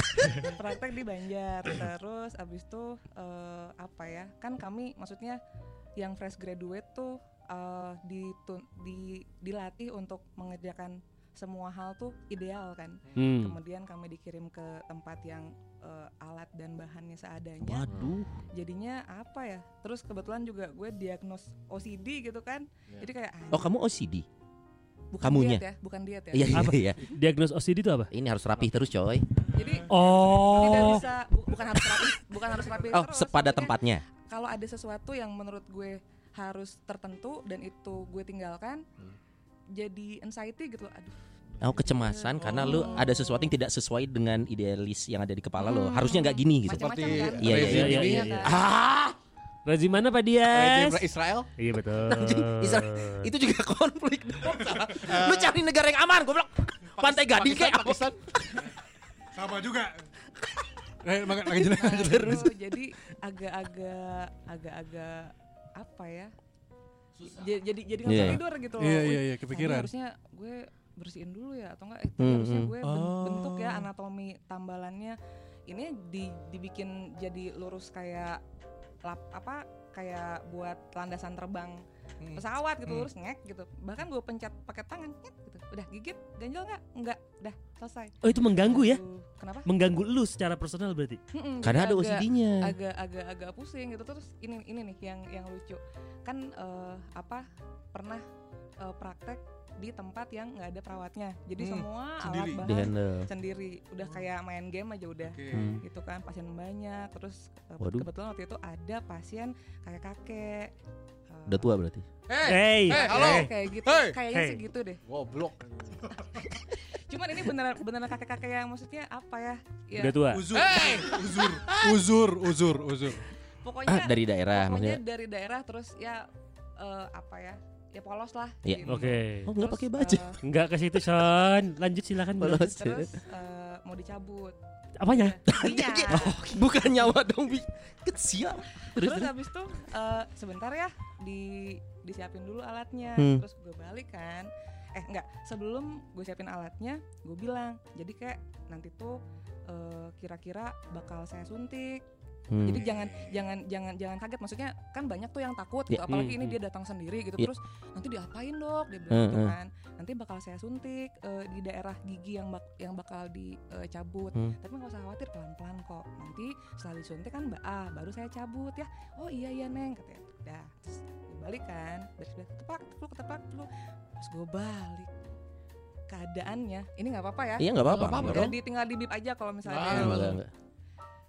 S6: praktek di Banjar terus abis itu eh, apa ya kan kami maksudnya yang fresh graduate tuh eh, ditun- di dilatih untuk mengerjakan semua hal tuh ideal kan
S3: Hmm.
S6: kemudian kami dikirim ke tempat yang eh, alat dan bahannya seadanya
S3: Waduh.
S6: jadinya apa ya terus kebetulan juga gue diagnos OCD gitu kan
S4: Iya.
S6: jadi kayak
S2: Oh,
S6: anjing,
S2: kamu OCD.
S6: bukan
S2: kamunya?
S6: diet ya bukan diet ya
S2: Iya, iya,
S3: Apa?
S2: iya.
S3: Diagnos OCD itu apa?
S2: Ini harus rapih terus coy.
S6: jadi tidak
S3: Oh.
S6: bisa bu- bukan harus rapi bukan harus rapi
S2: Oh,
S6: terus
S2: sepada
S6: maksudnya
S2: tempatnya.
S6: kalau ada sesuatu yang menurut gue harus tertentu dan itu gue tinggalkan jadi anxiety gitu aduh
S2: Oh, kecemasan karena lu ada sesuatu yang tidak sesuai dengan idealis yang ada di kepala lo. Harusnya nggak gini gitu.
S6: macam-macam
S4: Seperti
S6: kan
S2: Iya, iya,
S4: rezim
S3: iya,
S4: ini,
S3: iya,
S6: kan?
S2: Ah,
S3: Rezim mana Pak
S4: rezim
S3: Dias?
S4: Eh, Israel.
S3: Iya betul.
S2: Anjing, Israel. itu juga konflik dong. Sa. lu cari negara yang aman, goblok. Pantai Gading
S4: Eh.
S2: kayak
S4: Pakistan,
S2: apa?
S4: Pakistan.
S5: Sama juga. Eh, makan lanjut lanjut.
S6: terus jadi agak-agak agak-agak apa ya Ja- jadi jadi nggak bisa
S2: Iya.
S6: tidur gitu loh
S5: Iya
S6: Wih,
S5: iya iya
S6: tadi
S5: kepikiran.
S6: harusnya gue bersihin dulu ya atau enggak eh, tadi
S2: Hmm,
S6: harusnya
S2: hmm.
S6: gue ben-
S5: Oh.
S6: bentuk ya anatomi tambalannya ini di- dibikin jadi lurus kayak lap apa kayak buat landasan terbang
S5: Hmm.
S6: pesawat gitu
S5: Hmm.
S6: lurus ngek gitu bahkan gue pencet pakai tangan ngek gitu udah gigit ganjel nggak nggak udah selesai
S3: Oh itu mengganggu ya?
S6: Aduh, kenapa
S3: Mengganggu lu secara personal berarti?
S6: Mm-mm,
S2: Karena
S6: jadi
S2: ada
S6: agak-
S2: OCD-nya.
S6: agak agak agak pusing gitu terus ini ini nih yang yang lucu kan eh, apa pernah eh, praktek di tempat yang nggak ada perawatnya jadi
S5: Hmm,
S6: semua
S5: sendiri.
S6: alat
S2: Di
S6: bahan
S2: handle.
S6: sendiri udah kayak main game aja udah
S2: Hmm.
S6: gitu kan pasien banyak terus eh,
S2: Waduh.
S6: kebetulan waktu itu ada pasien kayak kakek eh,
S2: Udah tua berarti.
S4: Hey,
S3: Hey.
S4: eh,
S6: kayak-
S4: halo.
S6: kayak gitu
S4: Hey.
S6: kayaknya
S3: Hey.
S6: sih gitu deh
S4: goblok.
S6: cuman ini beneran beneran kakek-kakek yang maksudnya apa ya ya
S3: Udah tua.
S5: Uzur. Uzur. Uzur, uzur, uzur.
S6: pokoknya
S2: Ah, dari daerah
S6: Iya. pokoknya
S2: maksudnya.
S6: dari daerah terus ya eh, apa ya ya polos lah
S2: Iya.
S6: gitu.
S3: Oke.
S2: Oh, nggak
S6: Terus,
S2: pakai baju.
S6: eh,
S3: Enggak ke situ Son. Lanjut silakan. Bro.
S2: Terus.
S6: terus eh, mau dicabut
S3: Apanya?
S6: Iya.
S2: Oh, Bukan nyawa dong, Bi. Kesial. Terus,
S6: terus
S2: terus.
S6: habis itu eh, sebentar ya di disiapin dulu alatnya
S2: Hmm.
S6: terus gue balik kan eh enggak sebelum gue siapin alatnya gue bilang jadi kayak nanti tuh eh, kira-kira bakal saya suntik
S2: Hmm.
S6: Jadi jangan jangan jangan jangan kaget maksudnya kan banyak tuh yang takut gitu
S2: Ya,
S6: apalagi
S3: mm,
S6: ini
S3: mm.
S6: dia datang sendiri gitu
S2: Ya.
S6: terus nanti diapain dok dia bilang
S2: Eh,
S6: gitu
S2: eh.
S6: kan nanti bakal saya suntik eh, di daerah gigi yang bak- yang bakal dicabut
S2: Hmm.
S6: tapi nggak usah khawatir pelan-pelan kok nanti setelah disuntik kan mbak A baru saya cabut ya oh iya iya neng katanya dah terus dia balik kan beres-beres ketepak ketepak ketepak ketepak. terus gue balik keadaannya ini nggak apa-apa ya
S2: Iya, enggak apa-apa.
S4: Nggak apa-apa
S2: nggak
S6: Udah
S2: apa-apa.
S6: di, tinggal dibip aja kalau misalnya
S4: Nggak,
S6: ada yang
S2: Nggak,
S6: belum.
S2: nggak, nggak.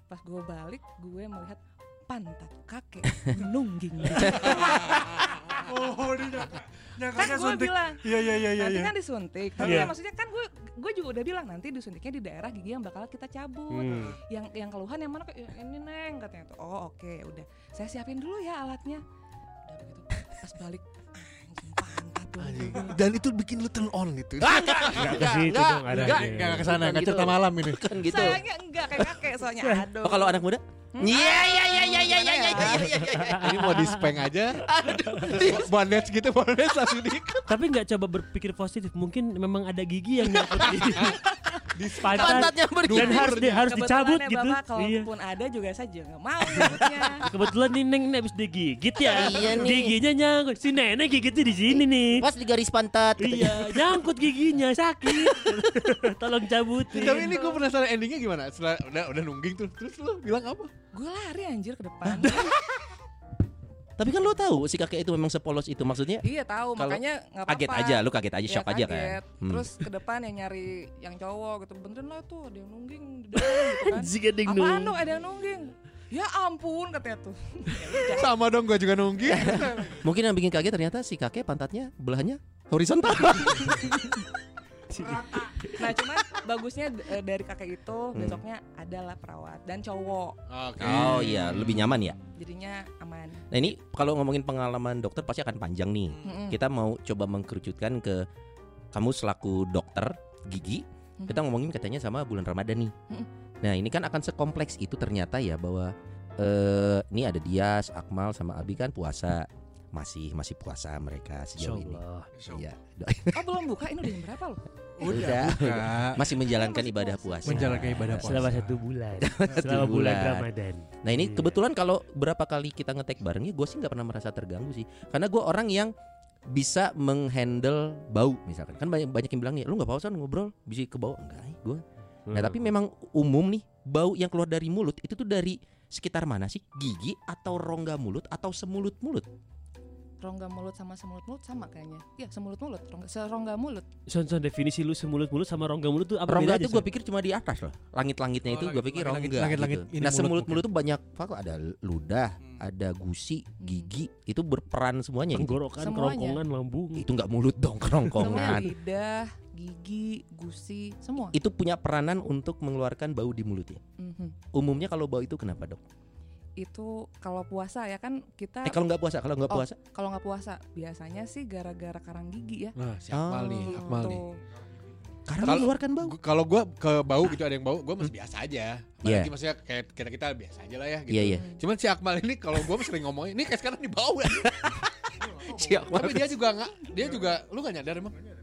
S6: Pas gue balik, gue melihat pantat kakek menungging.
S5: Oh, dia nyangka-
S6: kan
S5: nyangkanya
S6: gue
S5: suntik.
S6: Kan bilang,
S5: Iya, iya, iya, iya.
S6: nanti
S5: iya.
S6: kan disuntik. Tapi
S3: Iya.
S6: ya maksudnya kan gue gue juga udah bilang nanti disuntiknya di daerah gigi yang bakal kita cabut
S3: Hmm.
S6: yang yang keluhan yang mana Kak? "Ya, ini neng katanya tuh oh oke udah saya siapin dulu ya alatnya udah begitu pas balik anjing pantat tuh
S4: Dan itu bikin lu turn on gitu.
S3: Nggak ke situ dong arahnya.
S4: enggak, enggak ke sana, enggak cerita malam ini.
S2: kan gitu.
S6: sayangnya enggak kayak kakek soalnya aduh
S2: Oh, kalau anak muda? Iya iya iya iya iya iya iya iya iya.
S4: Ini mau dispeng aja. Bandage gitu, bandage langsung di
S3: Tapi nggak coba berpikir positif. Mungkin memang ada gigi yang nyangkut di, di pantat.
S2: Pantatnya bergerak.
S3: Dan harus di, harus dicabut
S6: Kebetulannya
S3: gitu.
S6: ya, bapak
S3: Iya.
S6: kalaupun ada juga saya juga nggak mau nyebutnya
S3: Kebetulan nih Neng ini habis digigit ya.
S2: Iya nih.
S3: Giginya nyangkut. Si nenek gigitnya di sini nih.
S2: Pas di garis pantat.
S3: Iya, nyangkut giginya sakit. Tolong cabutin.
S4: Tapi ini gue penasaran endingnya gimana? Setelah udah udah nungging tuh, terus lu bilang apa?
S6: gue lari anjir ke depan
S2: Tapi kan lo tahu si kakek itu memang sepolos itu maksudnya
S6: iya tahu
S2: Kalau
S6: makanya nggak apa-apa
S2: kaget aja, lu kaget aja,
S6: Iya,
S2: shock aja kan.
S6: kaget.
S2: Hmm.
S6: Terus ke depan yang nyari yang cowok gitu Benerin lah tuh ada yang nungging di dalam gitu kan
S3: Anjing ada yang
S6: Apaan
S3: nung-
S6: dong ada yang nungging Ya ampun katanya tuh
S4: Sama dong gue juga nungging.
S2: Mungkin yang bikin kaget ternyata si kakek pantatnya belahnya horizontal.
S6: Nah cuman bagusnya d- eh, dari kakek itu
S2: Hmm.
S6: besoknya adalah perawat dan cowok
S4: Oke.
S2: oh iya, lebih nyaman ya.
S6: Jadinya aman
S2: Nah ini kalau ngomongin pengalaman dokter pasti akan panjang nih.
S6: Mm-mm.
S2: Kita mau coba mengkerucutkan ke kamu selaku dokter gigi.
S6: Hmm.
S2: Kita ngomongin katanya sama bulan Ramadan nih.
S6: Mm-mm.
S2: Nah ini kan akan sekompleks itu ternyata ya bahwa eh ini ada Dias, Akmal sama Abi kan puasa masih masih puasa mereka sejauh ini.
S3: Insyaallah.
S2: Iya,
S6: Oh belum buka ini udah jam berapa loh?
S2: Udah.
S5: Kak.
S2: masih menjalankan
S6: Masih
S2: ibadah
S6: puasa.
S2: puasa.
S5: Menjalankan ibadah puasa.
S3: Selama satu bulan. Selama bulan
S2: bulan.
S3: Ramadan.
S2: Nah ini
S3: Iya.
S2: kebetulan kalau berapa kali kita ngetek barengnya gue sih nggak pernah merasa terganggu sih Karena gue orang yang bisa menghandle bau misalkan Kan banyak, banyak yang bilang nih lu gak pausan ngobrol bisa ke bau Enggak gue Nah tapi
S3: Hmm.
S2: memang umum nih bau yang keluar dari mulut itu tuh dari sekitar mana sih? Gigi atau rongga mulut atau semulut-mulut?
S6: Rongga mulut sama semulut mulut sama kayaknya Iya semulut mulut rongga, serongga mulut
S3: Son son definisi lu semulut mulut sama rongga mulut tuh apa
S2: Rongga
S3: bedanya,
S2: itu gue
S3: Son?
S2: pikir cuma di atas loh Langit-langitnya
S4: Oh,
S2: itu gue
S4: langit-
S2: pikir
S5: langit-langit-
S2: rongga
S5: langit-langit
S2: gitu
S5: ini
S2: Nah
S5: mulut
S2: semulut-mulut tuh banyak faktor Ada ludah, ada gusi, gigi Itu berperan semuanya itu.
S3: tenggorokan,
S6: Semuanya.
S3: kerongkongan, lambung.
S2: Itu nggak mulut dong
S6: Semua
S2: kerongkongan
S6: lidah, gigi, gusi, semua
S2: itu punya peranan untuk mengeluarkan bau di mulutnya.
S6: Mhm.
S2: Umumnya kalau bau itu kenapa dok?
S6: Itu kalau puasa ya kan kita
S2: Eh kalau nggak puasa, kalau nggak
S6: Oh,
S2: puasa,
S6: kalau nggak puasa Biasanya sih gara-gara karang gigi ya Hmm,
S4: Nah, siapa
S2: Oh.
S4: nih? Akmal nih.
S6: Tuh.
S2: karena
S4: kalau-
S2: mengeluarkan bau.
S4: Gua- Kalau gue ke bau gitu ada yang bau, gue masih biasa aja. Apalagi
S2: Hmm. Iya.
S4: maksudnya kayak kita kita biasa aja lah ya. Gitu.
S2: Iya iya.
S4: Cuman si Akmal ini kalau gue sering ngomongin, ini kayak sekarang di bau ya. Tapi dia juga nggak, dia juga, lu nggak nyadar emang? Kayak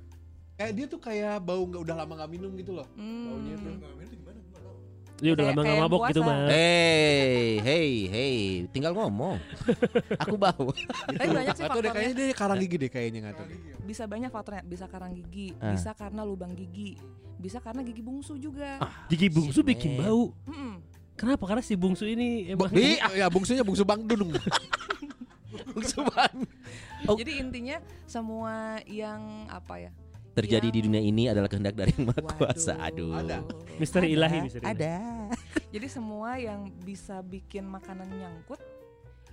S4: Eh, dia tuh kayak bau nggak udah lama nggak minum gitu loh.
S6: Hmm.
S4: Baunya tuh.
S3: Dia udah
S6: Kayak-
S3: lama nggak
S6: kayak
S3: mabok gitu,
S6: puasa.
S3: Mas.
S2: Hey, hey, hey, tinggal ngomong. Aku bau.
S6: Tapi banyak sih
S4: Atau deh
S6: faktornya
S4: kayaknya dia karang gigi deh kayaknya nggak tahu. deh.
S6: Bisa banyak faktornya Bisa karang gigi
S2: Ah.
S6: Bisa karena lubang gigi Bisa karena gigi bungsu juga Hmm.
S3: Gigi bungsu
S2: Si
S3: bikin
S2: Men.
S3: bau.
S6: Mm-mm.
S3: Kenapa? Karena si bungsu ini emang
S4: Di, ya bungsunya bungsu Bang Dunung.
S2: Oh.
S6: Jadi intinya semua yang apa ya?
S2: Terjadi di dunia ini adalah kehendak dari yang maha
S6: Waduh.
S2: kuasa. Aduh.
S4: Ada.
S3: misteri ilahi, misteri ilahi.
S2: Ada.
S6: Jadi semua yang bisa bikin makanan nyangkut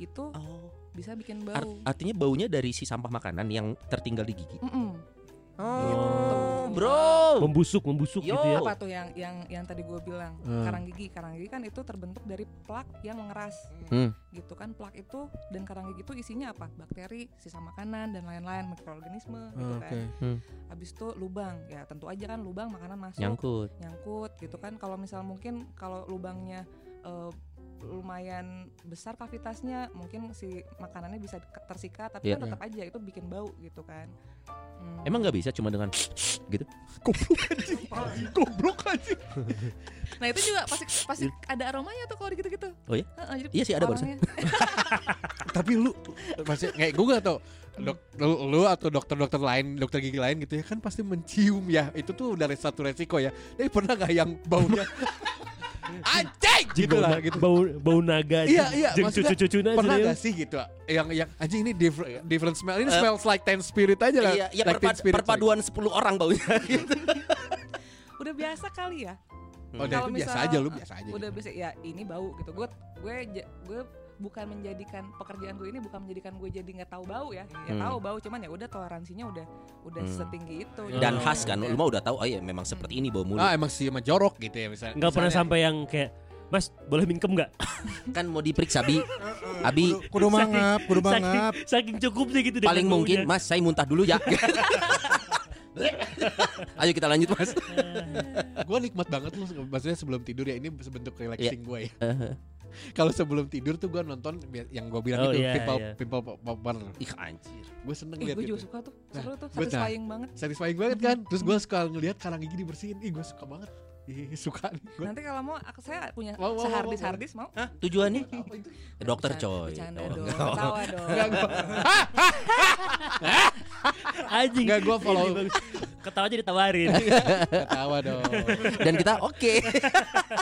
S6: itu
S2: Oh.
S6: bisa bikin bau.
S2: Art- artinya baunya dari si sampah makanan yang tertinggal di gigi.
S6: Mm-mm.
S2: Oh, bro.
S3: membusuk, membusuk
S2: Yo.
S3: gitu ya.
S6: Apa tuh yang yang yang tadi gue bilang karang gigi, karang gigi kan itu terbentuk dari plak yang mengeras,
S2: Hmm.
S6: gitu kan plak itu dan karang gigi itu isinya apa? Bakteri, sisa makanan dan lain-lain mikroorganisme, gitu kan.
S2: Hmm.
S6: Habis itu lubang, ya tentu aja kan lubang makanan masuk.
S2: Nyangkut.
S6: nyangkut gitu kan kalau misal mungkin kalau lubangnya eh, lumayan besar kavitasnya mungkin si makanannya bisa ke- tersikat tapi
S2: Iya.
S6: kan tetap aja itu bikin bau gitu kan Hmm.
S2: Emang nggak bisa cuma dengan gitu?
S4: Goblok aja.
S6: nah itu juga pasti pasti ada aromanya tuh kalau gitu gitu
S2: Oh iya? Iya sih, ada barusan.
S4: Tapi lu pasti kayak gue gak tau dok, lu, lu atau dokter-dokter lain, dokter gigi lain gitu ya kan pasti mencium ya. Itu tuh dari satu resiko ya. Tapi pernah gak yang baunya anjing gitu
S3: bau,
S4: lah
S3: na-
S4: gitu.
S3: bau, bau naga
S4: Iya, iya, maksudnya
S3: cucu-cucu
S4: Pernah gak sih gitu yang yang anjing ini different, different smell. Ini
S2: Eh,
S4: smells like ten spirit aja lah.
S2: Iya, iya
S4: Like teen
S2: perpad-
S4: spirit, sorry.
S2: perpaduan 10 orang baunya.
S6: udah biasa kali ya
S4: Oh, dan
S6: Kalau
S4: itu biasa
S6: misal-
S2: Iya.
S4: aja lu biasa aja.
S6: udah
S4: gitu.
S6: biasa ya ini bau gitu gue gue ja- gue bukan menjadikan pekerjaan gue ini bukan menjadikan gue jadi nggak tahu bau ya ya
S2: Hmm.
S6: tahu bau cuman ya udah toleransinya udah udah
S2: Hmm.
S6: setinggi itu
S2: Dan
S6: gitu.
S2: khas kan,
S6: Ya.
S2: lu mah udah tahu, oh iya memang seperti ini bau mulut.
S4: Ah emang sih emang jorok gitu ya misalnya.
S3: Nggak pernah
S4: misalnya.
S3: sampai yang kayak Mas boleh minjem nggak?
S2: Kan mau diperiksa bi, abi
S5: Kudu- kudu mangap, kudu mangap.
S3: Saking, saking cukupnya gitu dengan
S2: paling mungkin
S3: baunya.
S2: mas saya muntah dulu ya. Ayo kita lanjut mas.
S4: Gue nikmat banget loh maksudnya sebelum tidur ya ini sebentuk relaxing gue ya. Kalau sebelum tidur tuh gue nonton bi- yang gue bilang
S3: Oh,
S4: itu
S3: iya,
S4: people
S3: iya.
S4: people popper.
S2: Ih anjir.
S4: Gue seneng
S6: Ih,
S4: liat
S6: gue
S2: gitu.
S4: itu.
S6: Eh, juga suka tuh
S2: Nah,
S6: seru tuh
S4: gue tahu.
S6: satisfying banget
S4: Satisfying banget kan. Terus gue suka ngelihat karang gigi dibersihin. Ih gue suka banget. Ih, suka nih gue.
S6: nanti kalau mau aku- saya punya
S4: Wow, wow, wow,
S6: sehardis
S4: wow.
S6: hardis mau
S2: Tujuannya?
S4: Apa itu?
S2: Dokter
S6: Bercanda-
S2: coy.
S6: bercanda
S2: Oh,
S6: dong
S2: enggak.
S6: tawa dong
S4: Enggak gue
S3: Anjing.
S4: enggak gue follow
S3: Ini bagus. Ketawa aja ditawarin.
S4: ketawa dong.
S2: Dan kita oke.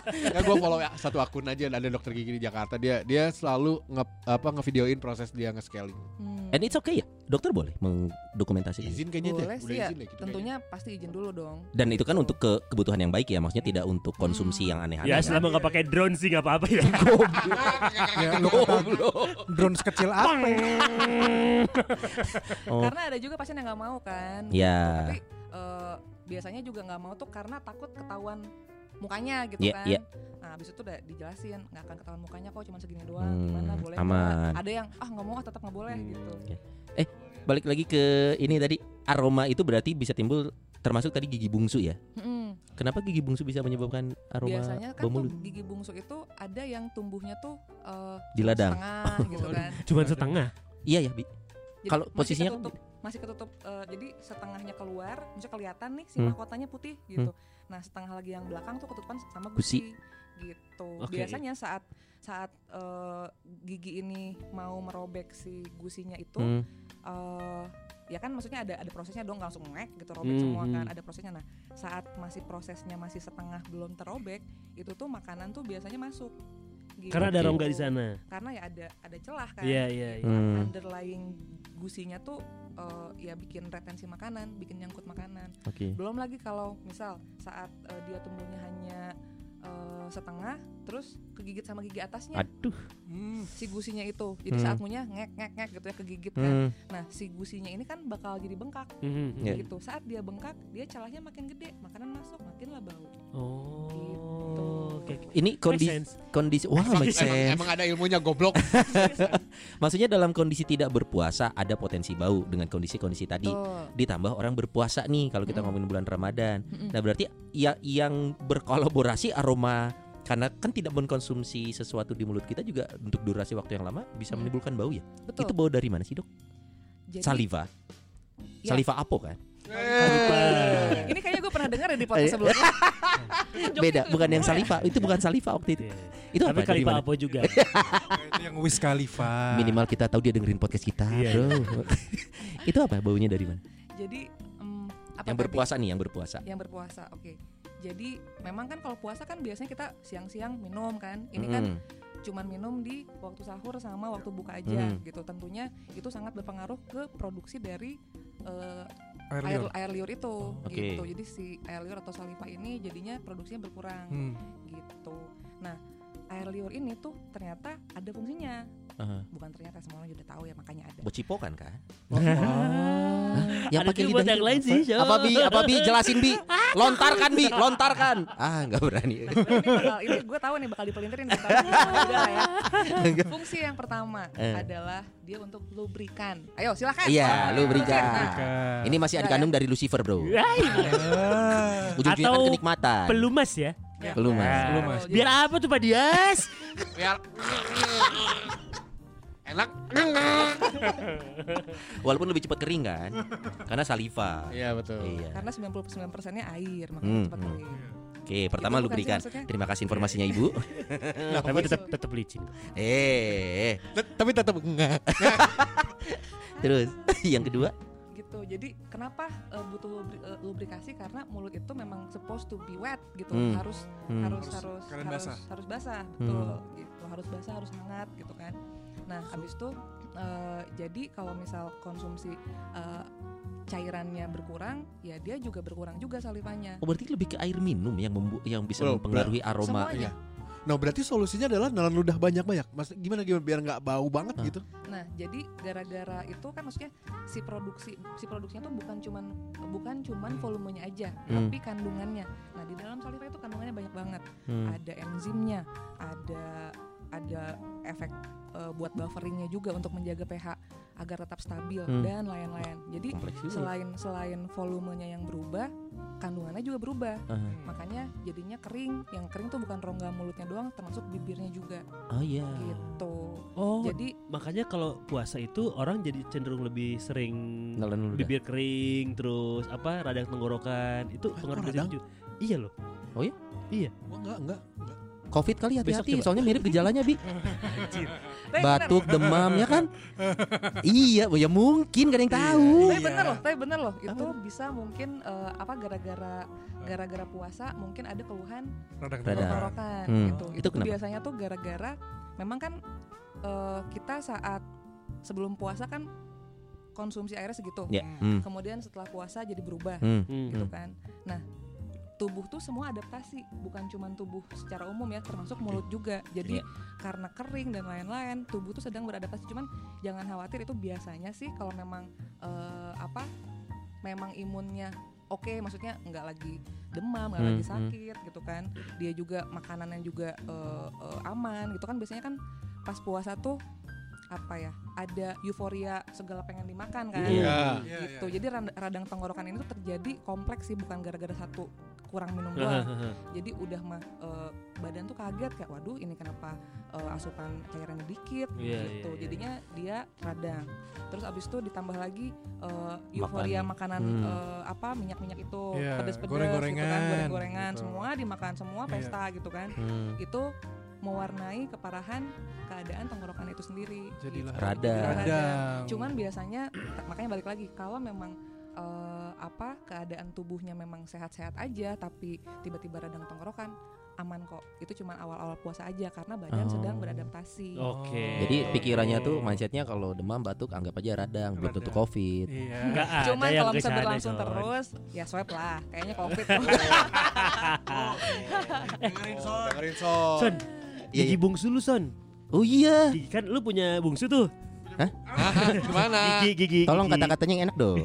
S4: Enggak gue follow ya, satu akun aja ada dokter gigi di Jakarta dia dia selalu nge apa ngevideoin proses dia nge-scaling.
S6: Hmm.
S2: And it's okay ya. Dokter boleh mendokumentasikan.
S4: Izin kayaknya deh.
S6: Boleh sih ya,
S4: izin deh gitu
S6: tentunya pasti izin dulu dong.
S2: Dan itu kan untuk ke kebutuhan yang baik ya, maksudnya tidak untuk
S6: Hmm.
S2: konsumsi yang aneh-aneh.
S3: ya
S2: kan?
S3: selama nggak pakai drone sih nggak apa-apa ya.
S5: Ya, lu kata drone sekecil apa?
S2: Oh.
S6: Karena ada juga pasien yang nggak mau kan.
S2: Ya.
S6: Tapi eh, biasanya juga nggak mau tuh karena takut ketahuan mukanya gitu
S2: Iya,
S6: kan.
S2: iya.
S6: Nah, abis itu udah dijelasin nggak akan ketahuan mukanya kok cuma segini doang.
S2: Hmm,
S6: Gimana boleh? nggak?
S2: aman. Hmm.
S6: Ada yang ah nggak mau ah, tetap nggak boleh gitu.
S2: Balik lagi ke ini tadi aroma itu berarti bisa timbul termasuk tadi gigi bungsu ya.
S6: Mm-mm.
S2: Kenapa gigi bungsu bisa menyebabkan aroma
S6: Biasanya kan
S2: bau mulut?
S6: tuh gigi bungsu itu ada yang tumbuhnya tuh eh,
S2: Di ladang.
S6: setengah gitu kan.
S3: Cuman setengah.
S2: Iya ya, Bi.
S6: Jadi
S2: Kalau
S6: masih
S2: posisinya-
S3: kan
S6: ketutup, masih ketutup eh, jadi setengahnya keluar, maksudnya kelihatan nih
S3: Hmm.
S6: si mahkotanya putih gitu. Nah, setengah lagi yang belakang tuh ketutupan sama
S2: Gusi.
S6: gusi, gitu.
S3: Oke.
S6: Biasanya saat saat eh, gigi ini mau merobek si gusinya itu
S2: Hmm.
S6: eh, ya kan maksudnya ada ada prosesnya dong nggak langsung ngek gitu robek
S3: Hmm,
S6: semua kan
S3: hmm.
S6: ada prosesnya nah saat masih prosesnya masih setengah belum terobek itu tuh makanan tuh biasanya masuk gitu.
S3: Karena ada rongga di sana.
S6: karena ya ada ada celah kan
S3: Iya iya. iya.
S2: Hmm.
S6: underlying gusinya tuh eh, ya bikin retensi makanan, bikin nyangkut makanan.
S2: Oke.
S6: Belum lagi kalau misal saat eh, dia tumbuhnya hanya eh, setengah, terus kegigit sama gigi atasnya hmm,
S2: Aduh.
S6: si gusinya itu. Jadi
S2: Hmm.
S6: saat munya ngek ngek ngek gitu ya kegigit kan.
S2: Hmm.
S6: Nah si gusinya ini kan bakal jadi bengkak
S3: Mhm.
S2: Iya.
S6: gitu. Saat dia bengkak, dia celahnya makin gede, makanan masuk makinlah bau. Gitu.
S3: Oh. Oke. oke.
S2: Ini
S3: Make
S2: kondisi
S3: sense.
S2: kondisi wah
S4: Emang,
S2: make
S4: emang,
S2: sense.
S4: emang ada ilmunya goblok.
S2: Maksudnya dalam kondisi tidak berpuasa ada potensi bau dengan kondisi-kondisi tadi.
S6: Tuh.
S2: Ditambah orang berpuasa nih kalau kita
S6: Mm-mm.
S2: ngomongin bulan Ramadan.
S6: Mm-mm.
S2: Nah berarti ya yang berkolaborasi aroma karena kan tidak mengkonsumsi sesuatu di mulut kita juga untuk durasi waktu yang lama bisa
S6: Hmm.
S2: menimbulkan bau ya.
S6: Betul.
S2: Itu bau dari mana sih dok?
S6: Jadi-
S2: Saliva.
S6: Ya.
S2: Saliva apo kan?
S6: Ini kayaknya gue pernah dengar ya di podcast sebelumnya.
S2: Iya.
S6: Iya.
S2: Beda, bukan yang saliva. Itu bukan saliva waktu itu.
S3: Iya.
S2: Itu
S3: Tapi
S2: apa? Dari
S3: kali Pak
S2: mana?
S3: Apo juga.
S5: Itu yang Wiz Khalifa.
S2: Minimal kita tahu dia dengerin podcast kita,
S3: Iya,
S2: bro. itu apa? Baunya dari mana?
S6: Jadi em, apa
S2: yang
S6: tadi?
S2: berpuasa nih, yang berpuasa.
S6: yang berpuasa oke jadi memang kan kalau puasa kan biasanya kita siang-siang minum kan ini kan
S2: Mm-mm.
S6: cuman minum di waktu sahur sama waktu buka aja
S2: Hmm.
S6: gitu tentunya itu sangat berpengaruh ke produksi dari eh,
S5: Air
S6: air
S5: liur.
S6: air liur itu
S2: oke.
S6: gitu jadi si air liur atau saliva ini jadinya produksinya berkurang
S5: Hmm.
S6: gitu nah air liur ini tuh ternyata ada fungsinya
S2: Aha.
S6: bukan ternyata semua orang udah tahu ya makanya ada
S2: Buat cipokan kan?
S6: Ya,
S3: Ada juga
S6: gitu
S3: buat yang lain sih. Syok.
S2: Apa bi? Apa bi? Jelasin bi. Lontarkan bi. Lontarkan. Ah nggak berani.
S6: ini bakal ini gue tahu nih bakal dipelintirin tapi udah lah ya. Fungsi yang pertama
S2: Eh.
S6: adalah dia untuk lubrikan. Ayo silakan. Nah,
S2: Iya, lu
S6: Lubrikan.
S5: Bukan.
S2: Ini masih adik kandung dari Lucifer bro.
S3: Hai,
S5: Ah.
S2: Ujung-ujungnya kan
S3: Atau
S2: kenikmatan.
S3: Pelumas ya.
S2: Belum mas.
S5: Belum, Mas.
S6: Gitu. Jadi-
S3: Biar apa tuh Pak Dias?
S4: Biar enak.
S2: Walaupun lebih cepat kering kan, karena saliva.
S4: Iya betul.
S2: Iya.
S6: Karena 99%-nya air,
S2: Hmm,
S6: makanya cepat
S2: hmm.
S6: kering.
S2: Oke, pertama
S6: Itu
S2: lu
S6: bukan sih
S2: berikan.
S6: maksudnya.
S2: Terima kasih informasinya ibu.
S3: Tapi tetap tetap licin.
S2: eh, eh.
S4: Tet- Tapi tetap enggak.
S2: terus yang kedua,
S6: Gitu. Jadi kenapa eh, butuh lubri- eh, lubrikasi karena mulut itu memang supposed to be wet gitu.
S2: Hmm.
S6: Harus
S2: Hmm.
S6: harus
S5: Harus
S6: harus
S5: keadaan
S6: harus
S5: basah.
S6: harus basah
S2: Hmm.
S6: betul gitu harus basah harus hangat gitu kan nah habis itu eh, jadi kalau misal konsumsi eh, cairannya berkurang ya dia juga berkurang juga salivanya
S2: oh, berarti lebih ke air minum yang membu- yang bisa
S4: Belum,
S2: mempengaruhi aroma. iya.
S6: Semuanya.
S4: Nah berarti solusinya adalah nelan ludah banyak-banyak. Mas gimana gimana biar nggak bau banget
S2: Hah.
S4: gitu?
S6: Nah, jadi gara-gara itu kan maksudnya si produksi si produksinya tuh bukan cuman bukan cuman volumenya aja,
S2: Hmm.
S6: tapi kandungannya. Nah, di dalam saliva itu kandungannya banyak banget.
S2: Hmm.
S6: Ada enzimnya, ada ada efek eh, buat bufferingnya juga untuk menjaga pH agar tetap stabil
S2: Hmm.
S6: dan lain-lain. Jadi
S2: Kompleks juga.
S6: selain selain volumenya yang berubah, kandungannya juga berubah.
S2: Ah.
S6: Makanya jadinya kering. Yang kering tuh bukan rongga mulutnya doang, termasuk bibirnya juga
S2: Oh iya.
S6: gitu.
S3: Oh,
S6: Jadi
S3: makanya kalau puasa itu orang jadi cenderung lebih sering
S2: Nelan ludah.
S3: bibir kering, terus apa radang tenggorokan. Itu
S4: Ah,
S3: pengaruh
S4: kok
S3: dari
S4: radang?
S3: situ. Iya loh.
S4: Wah enggak enggak.
S2: Covid kali
S3: Besok
S2: hati-hati
S3: coba.
S2: soalnya mirip gejalanya bi
S6: tapi bener,
S2: batuk demam ya kan iya ya mungkin gak ada yang tahu
S6: Tapi
S5: Eh,
S4: Iya.
S6: bener loh, tapi bener loh. Itu bisa mungkin eh, apa gara-gara gara-gara puasa mungkin ada keluhan
S2: Radang.
S5: radang tenggorokan.
S6: tenggorokan
S2: Hmm.
S6: gitu.
S2: Itu
S6: Itu, tuh
S2: kenapa?
S6: biasanya tuh gara-gara memang kan eh, kita saat sebelum puasa kan konsumsi airnya segitu.
S2: ya hmm.
S6: Kemudian setelah puasa jadi berubah
S2: Hmm.
S3: Hmm.
S6: gitu kan. Nah, tubuh tuh semua adaptasi, bukan cuman tubuh secara umum ya, termasuk mulut juga. Jadi
S2: Iya.
S6: karena kering dan lain-lain, tubuh tuh sedang beradaptasi. Cuman jangan khawatir itu biasanya sih kalau memang eh, apa? Memang imunnya oke, maksudnya nggak lagi demam, nggak
S2: Hmm,
S6: lagi
S2: hmm.
S6: sakit gitu kan. Dia juga makanannya juga eh, eh, aman gitu kan. Biasanya kan pas puasa tuh apa ya? Ada euforia segala pengen dimakan kan
S2: Iya.
S6: gitu. Jadi rand- radang tenggorokan ini tuh terjadi kompleks sih bukan gara-gara satu kurang
S3: Ah,
S6: minum doang.
S3: ah, ah.
S6: Jadi udah mah eh, badan tuh kaget kayak waduh ini kenapa eh, asupan cairannya dikit
S3: Iya,
S6: gitu.
S3: iya, iya.
S6: Jadinya dia radang. Terus abis itu ditambah lagi eh, euforia
S2: Makan.
S6: makanan
S2: Hmm.
S6: eh, apa minyak-minyak itu
S5: Iya,
S6: pedes-pedes gitu kan,
S5: goreng-gorengan,
S6: goreng-gorengan
S5: gitu.
S6: semua dimakan semua
S5: Iya.
S6: pesta gitu kan.
S2: Hmm.
S6: Itu mewarnai keparahan keadaan tenggorokan itu sendiri.
S5: Jadilah
S6: gitu.
S2: Radang.
S6: radang
S5: radang.
S6: cuman biasanya ta- makanya balik lagi kalau memang eh, apa keadaan tubuhnya memang sehat-sehat aja tapi tiba-tiba radang tenggorokan aman kok itu cuman awal-awal puasa aja karena badan
S2: Oh.
S6: sedang beradaptasi
S3: Oke.
S2: jadi pikirannya tuh mindsetnya kalau demam batuk anggap aja radang belum tentu
S3: Gitu.
S5: Radang.
S2: covid
S5: Iya.
S3: Nggak ada
S6: cuman
S3: yang
S6: kalau bisa
S3: kesana,
S6: berlangsung
S3: Son.
S6: terus ya swipe lah kayaknya covid
S4: Dengerin son. Dengerin son.
S3: Son,
S2: Iya,
S3: gigi
S2: iya.
S3: bungsu lu Son.
S2: oh iya
S3: Gigi kan lu punya bungsu tuh.
S4: Ah, Gimana?
S3: Gigi gigi.
S2: tolong
S3: gigi.
S2: kata-katanya yang enak dong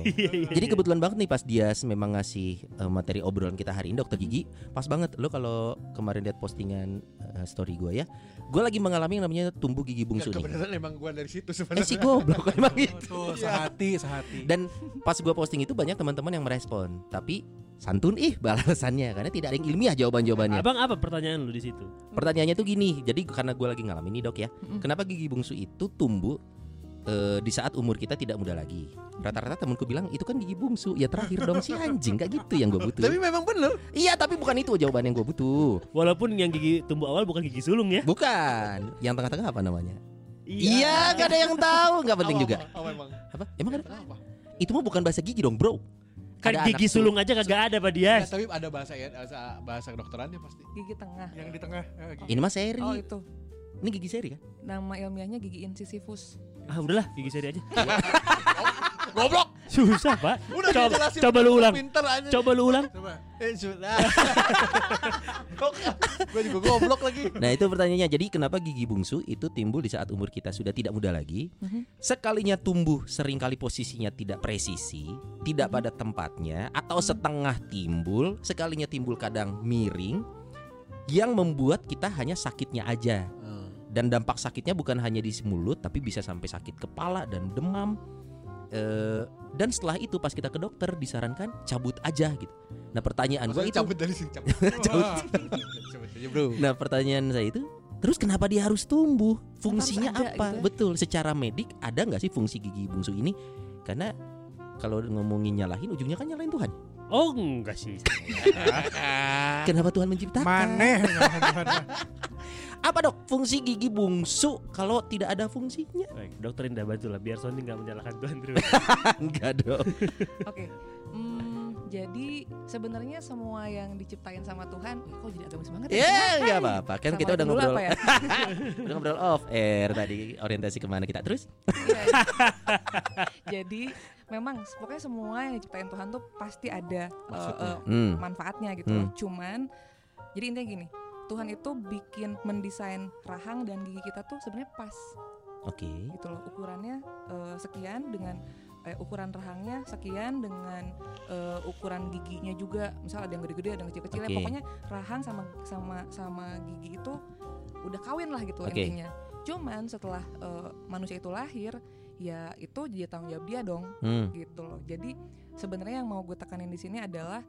S2: jadi kebetulan banget nih pas dia memang ngasih eh, materi obrolan kita hari ini dokter gigi pas banget lo kalau kemarin lihat postingan eh, story gue ya gue lagi mengalami yang namanya tumbuh gigi
S4: Nggak,
S2: bungsu nih
S4: Iya, Kebenaran emang gua dari situ
S2: eh
S4: sebenarnya.
S2: si goblok emang gitu
S6: Iya.
S5: Tuh, sehati, sehati.
S2: Dan pas gua posting itu banyak teman-teman yang merespon, tapi santun ih balasannya karena tidak ada yang ilmiah jawaban-jawabannya.
S3: Abang apa pertanyaan lu di situ?
S2: Pertanyaannya tuh gini, jadi karena gua lagi ngalamin nih dok ya,
S6: Mm-mm.
S2: kenapa gigi bungsu itu tumbuh eh, di saat umur kita tidak muda lagi? Rata-rata temanku bilang itu kan gigi bungsu, ya terakhir dong si anjing, gak gitu yang gua
S4: Tapi
S2: butuh.
S4: memang bener.
S2: Iya tapi bukan itu jawaban yang gua butuh,
S3: Walaupun yang gigi tumbuh awal bukan gigi sulung ya.
S2: bukan. Yang tengah-tengah apa namanya? Iya, gak ada yang tahu, nggak penting juga.
S4: Oh emang.
S2: Apa? Emang ada?
S4: Apa?
S2: Itu mah bukan bahasa gigi dong bro.
S3: Kan
S2: Ada
S3: gigi
S2: anak tuh.
S3: sulung aja kagak ada Pak
S4: Ya,
S3: Dias.
S4: tapi ada bahasa ya, bahasa bahasa kedokterannya pasti.
S6: gigi tengah
S5: yang di tengah. eh, gigi.
S2: Ini mah seri,
S6: oh itu
S2: ini gigi seri kan?
S6: nama ilmiahnya gigi incisivus
S3: Ah udahlah gigi seri aja.
S4: Goblok.
S3: Susah Pak.
S4: Udah
S3: coba,
S4: dijelasin
S3: coba lu ulang.
S4: Pinter aja.
S3: Coba lu ulang.
S4: Coba. Eh sudah. Gue juga goblok lagi.
S2: Nah itu pertanyaannya Jadi kenapa gigi bungsu itu timbul di saat umur kita sudah tidak muda lagi
S6: Mhm.
S2: Sekalinya tumbuh seringkali posisinya tidak presisi Tidak pada tempatnya Atau setengah timbul Sekalinya timbul kadang miring Yang membuat kita hanya sakitnya aja Dan dampak sakitnya bukan hanya di mulut Tapi bisa sampai sakit kepala dan demam Eh, Dan setelah itu pas kita ke dokter disarankan cabut aja gitu Nah pertanyaan gue
S4: Maksudnya
S2: itu
S4: cabut dari sini cabut.
S2: Cabut.
S4: Cabut aja bro.
S2: Nah pertanyaan saya itu Terus kenapa dia harus tumbuh? Fungsinya
S6: Kenapa harus ada
S2: apa?
S6: gitu ya?
S2: Betul, secara medik ada nggak sih fungsi gigi bungsu ini? Karena kalau ngomongin nyalahin ujungnya kan nyalahin Tuhan.
S3: Oh enggak sih.
S2: Kenapa Tuhan menciptakan?
S5: Maneh. jangan-jangan.
S2: Apa dok fungsi gigi bungsu kalau tidak ada fungsinya?
S3: Baik, dokter Indah bantu lah biar Sony nggak menyalahkan Tuhan terus.
S2: Enggak dok.
S6: Oke. Hmm, jadi sebenarnya semua yang diciptain sama Tuhan, kok jadi agamis banget
S2: Ya nggak
S6: Hai.
S2: apa-apa. Kan
S6: Sama
S2: kita udah
S6: dulu
S2: ngobrol,
S6: apa ya?
S2: udah ngobrol off air tadi orientasi kemana kita terus?
S6: Iya. jadi memang pokoknya semua yang diciptain Tuhan tuh pasti ada eh,
S4: Maksudnya?
S6: eh,
S2: Hmm.
S6: manfaatnya gitu.
S2: Hmm.
S6: Cuman jadi intinya gini, Tuhan itu bikin mendesain rahang dan gigi kita tuh sebenarnya pas
S2: Oke.
S6: gitu loh ukurannya eh, sekian dengan eh, ukuran rahangnya sekian dengan eh, ukuran giginya juga misal ada yang gede-gede ada yang kecil-kecil ya
S2: Oke.
S6: pokoknya rahang sama sama sama gigi itu udah kawin lah gitu
S2: Oke.
S6: intinya cuman setelah eh, manusia itu lahir ya itu jadi tanggung jawab dia dong
S2: Hmm.
S6: gitu loh. Jadi sebenarnya yang mau gue tekanin di sini adalah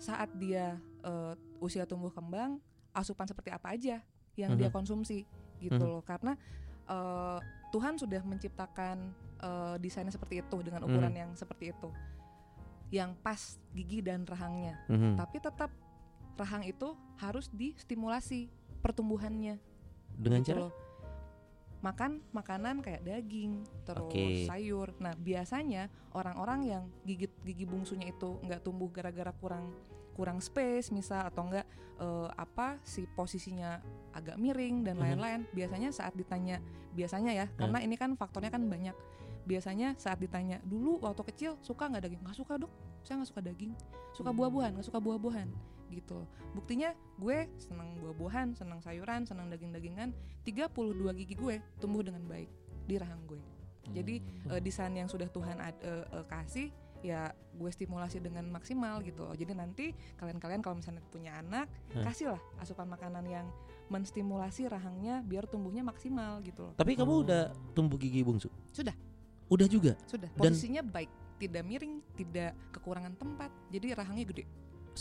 S6: saat dia eh, usia tumbuh kembang, asupan seperti apa aja yang dia konsumsi gitu
S2: Mhm.
S6: loh. Karena eh, Tuhan sudah menciptakan eh, desainnya seperti itu dengan
S2: Mhm.
S6: ukuran yang seperti itu, yang pas gigi dan rahangnya.
S2: Mhm.
S6: Tapi tetap rahang itu harus distimulasi pertumbuhannya
S2: Dengan
S6: gitu
S2: cara
S6: loh. makan makanan kayak daging terus
S2: Oke.
S6: sayur nah biasanya orang-orang yang gigit gigi bungsunya itu nggak tumbuh gara-gara kurang kurang space misal atau enggak apa si posisinya agak miring
S2: Mhm.
S6: dan
S2: Nah.
S6: lain-lain biasanya saat ditanya biasanya ya karena ini kan faktornya kan banyak biasanya saat ditanya dulu waktu kecil suka nggak daging nggak suka dok saya nggak suka daging suka buah-buahan nggak suka buah-buahan gitu buktinya gue seneng buah-buahan seneng sayuran seneng daging-dagingan 32 gigi gue tumbuh dengan baik di rahang gue
S2: Hmm.
S6: jadi eh, desain yang sudah Tuhan ad- eh, eh, kasih ya gue stimulasi dengan maksimal gitu loh jadi nanti kalian-kalian kalau misalnya punya anak
S2: Hah.
S6: kasihlah asupan makanan yang menstimulasi rahangnya biar tumbuhnya maksimal gitu loh
S2: Tapi kamu udah tumbuh gigi bungsu?
S6: Sudah.
S2: Udah juga.
S6: sudah
S2: Dan-
S6: posisinya baik tidak miring tidak kekurangan tempat jadi rahangnya gede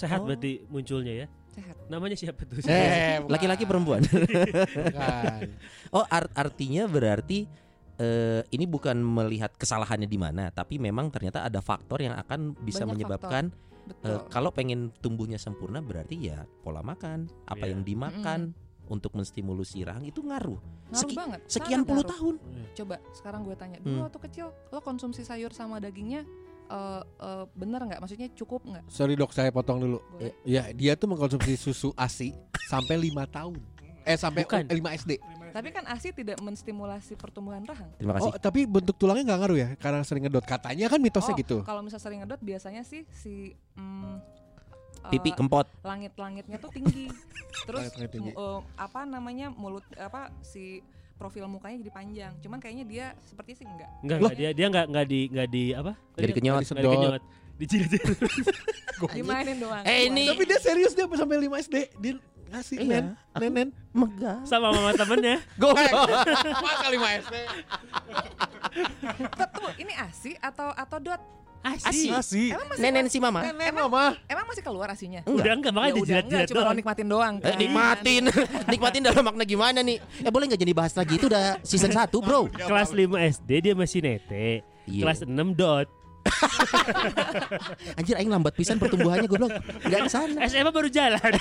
S3: Sehat
S2: Oh.
S3: berarti munculnya ya.
S6: sehat
S3: Namanya siapa tuh?
S4: Eh, bukan.
S2: Laki-laki perempuan.
S4: Bukan.
S2: Oh, ar- artinya berarti eh, ini bukan melihat kesalahannya di mana, tapi memang ternyata ada faktor yang akan bisa
S6: Banyak
S2: menyebabkan eh,
S6: betul
S2: kalau pengen tumbuhnya sempurna berarti ya pola makan, apa
S3: Iya.
S2: yang dimakan untuk menstimulusi rahang itu ngaruh.
S6: ngaruh
S2: seki-
S6: banget
S2: Sekian
S6: sangat
S2: puluh
S6: ngaruh.
S2: tahun.
S6: coba sekarang gue tanya dulu
S2: Hmm.
S6: waktu kecil lo konsumsi sayur sama dagingnya eh, eh, bener nggak maksudnya cukup nggak
S4: Sorry dok, saya potong dulu.
S6: Boleh.
S4: Ya, dia tuh mengkonsumsi susu ASI sampai 5 tahun. Eh sampai
S3: Bukan.
S4: 5 SD.
S6: tapi kan asi tidak menstimulasi pertumbuhan rahang
S2: Terima
S4: Oh,
S2: kasih.
S4: tapi bentuk tulangnya nggak ngaruh ya? Karena sering ngedot. Katanya kan mitosnya
S6: Oh,
S4: gitu.
S6: kalau misal sering ngedot biasanya sih si mm, eh,
S2: Oh, Pipi kempot.
S6: langit-langitnya tuh tinggi. Terus
S4: Langit-langit tinggi.
S6: mu- eh, apa namanya mulut apa si profil mukanya jadi panjang. Cuman kayaknya dia seperti sih enggak.
S3: Enggak,
S4: Loh.
S3: enggak dia dia enggak enggak di enggak di apa?
S2: Jadi kenyot.
S3: Enggak dikenyot. Dijilat.
S6: Dimainin doang.
S2: Eh, ini-
S4: Tapi dia serius dia sampai 5 SD. Dia ngasih
S2: Iya.
S4: nen, nenen.
S2: Megah.
S3: Sama mama temennya
S4: Masa 5 SD?
S6: Tunggu, ini asi atau atau dot?
S2: Asi.
S5: Asih.
S6: Emang masih
S2: Nenen si mama.
S4: Nenen mama.
S6: emang masih keluar asinya?
S3: Udah enggak makanya
S6: Ya udah enggak,
S3: dijilat-jilat
S6: cuma lo
S3: doang
S6: nikmatin doang.
S2: Eh,
S6: kan.
S2: nikmatin. nikmatin dalam makna gimana nih? Eh boleh nggak jadi bahas lagi itu udah season 1, Bro.
S3: Kelas 5 SD dia masih nete
S2: Iya.
S3: Kelas 6 dot
S2: Anjir aing lambat pisan pertumbuhannya goblok. Enggak ke sana.
S3: SMA baru jalan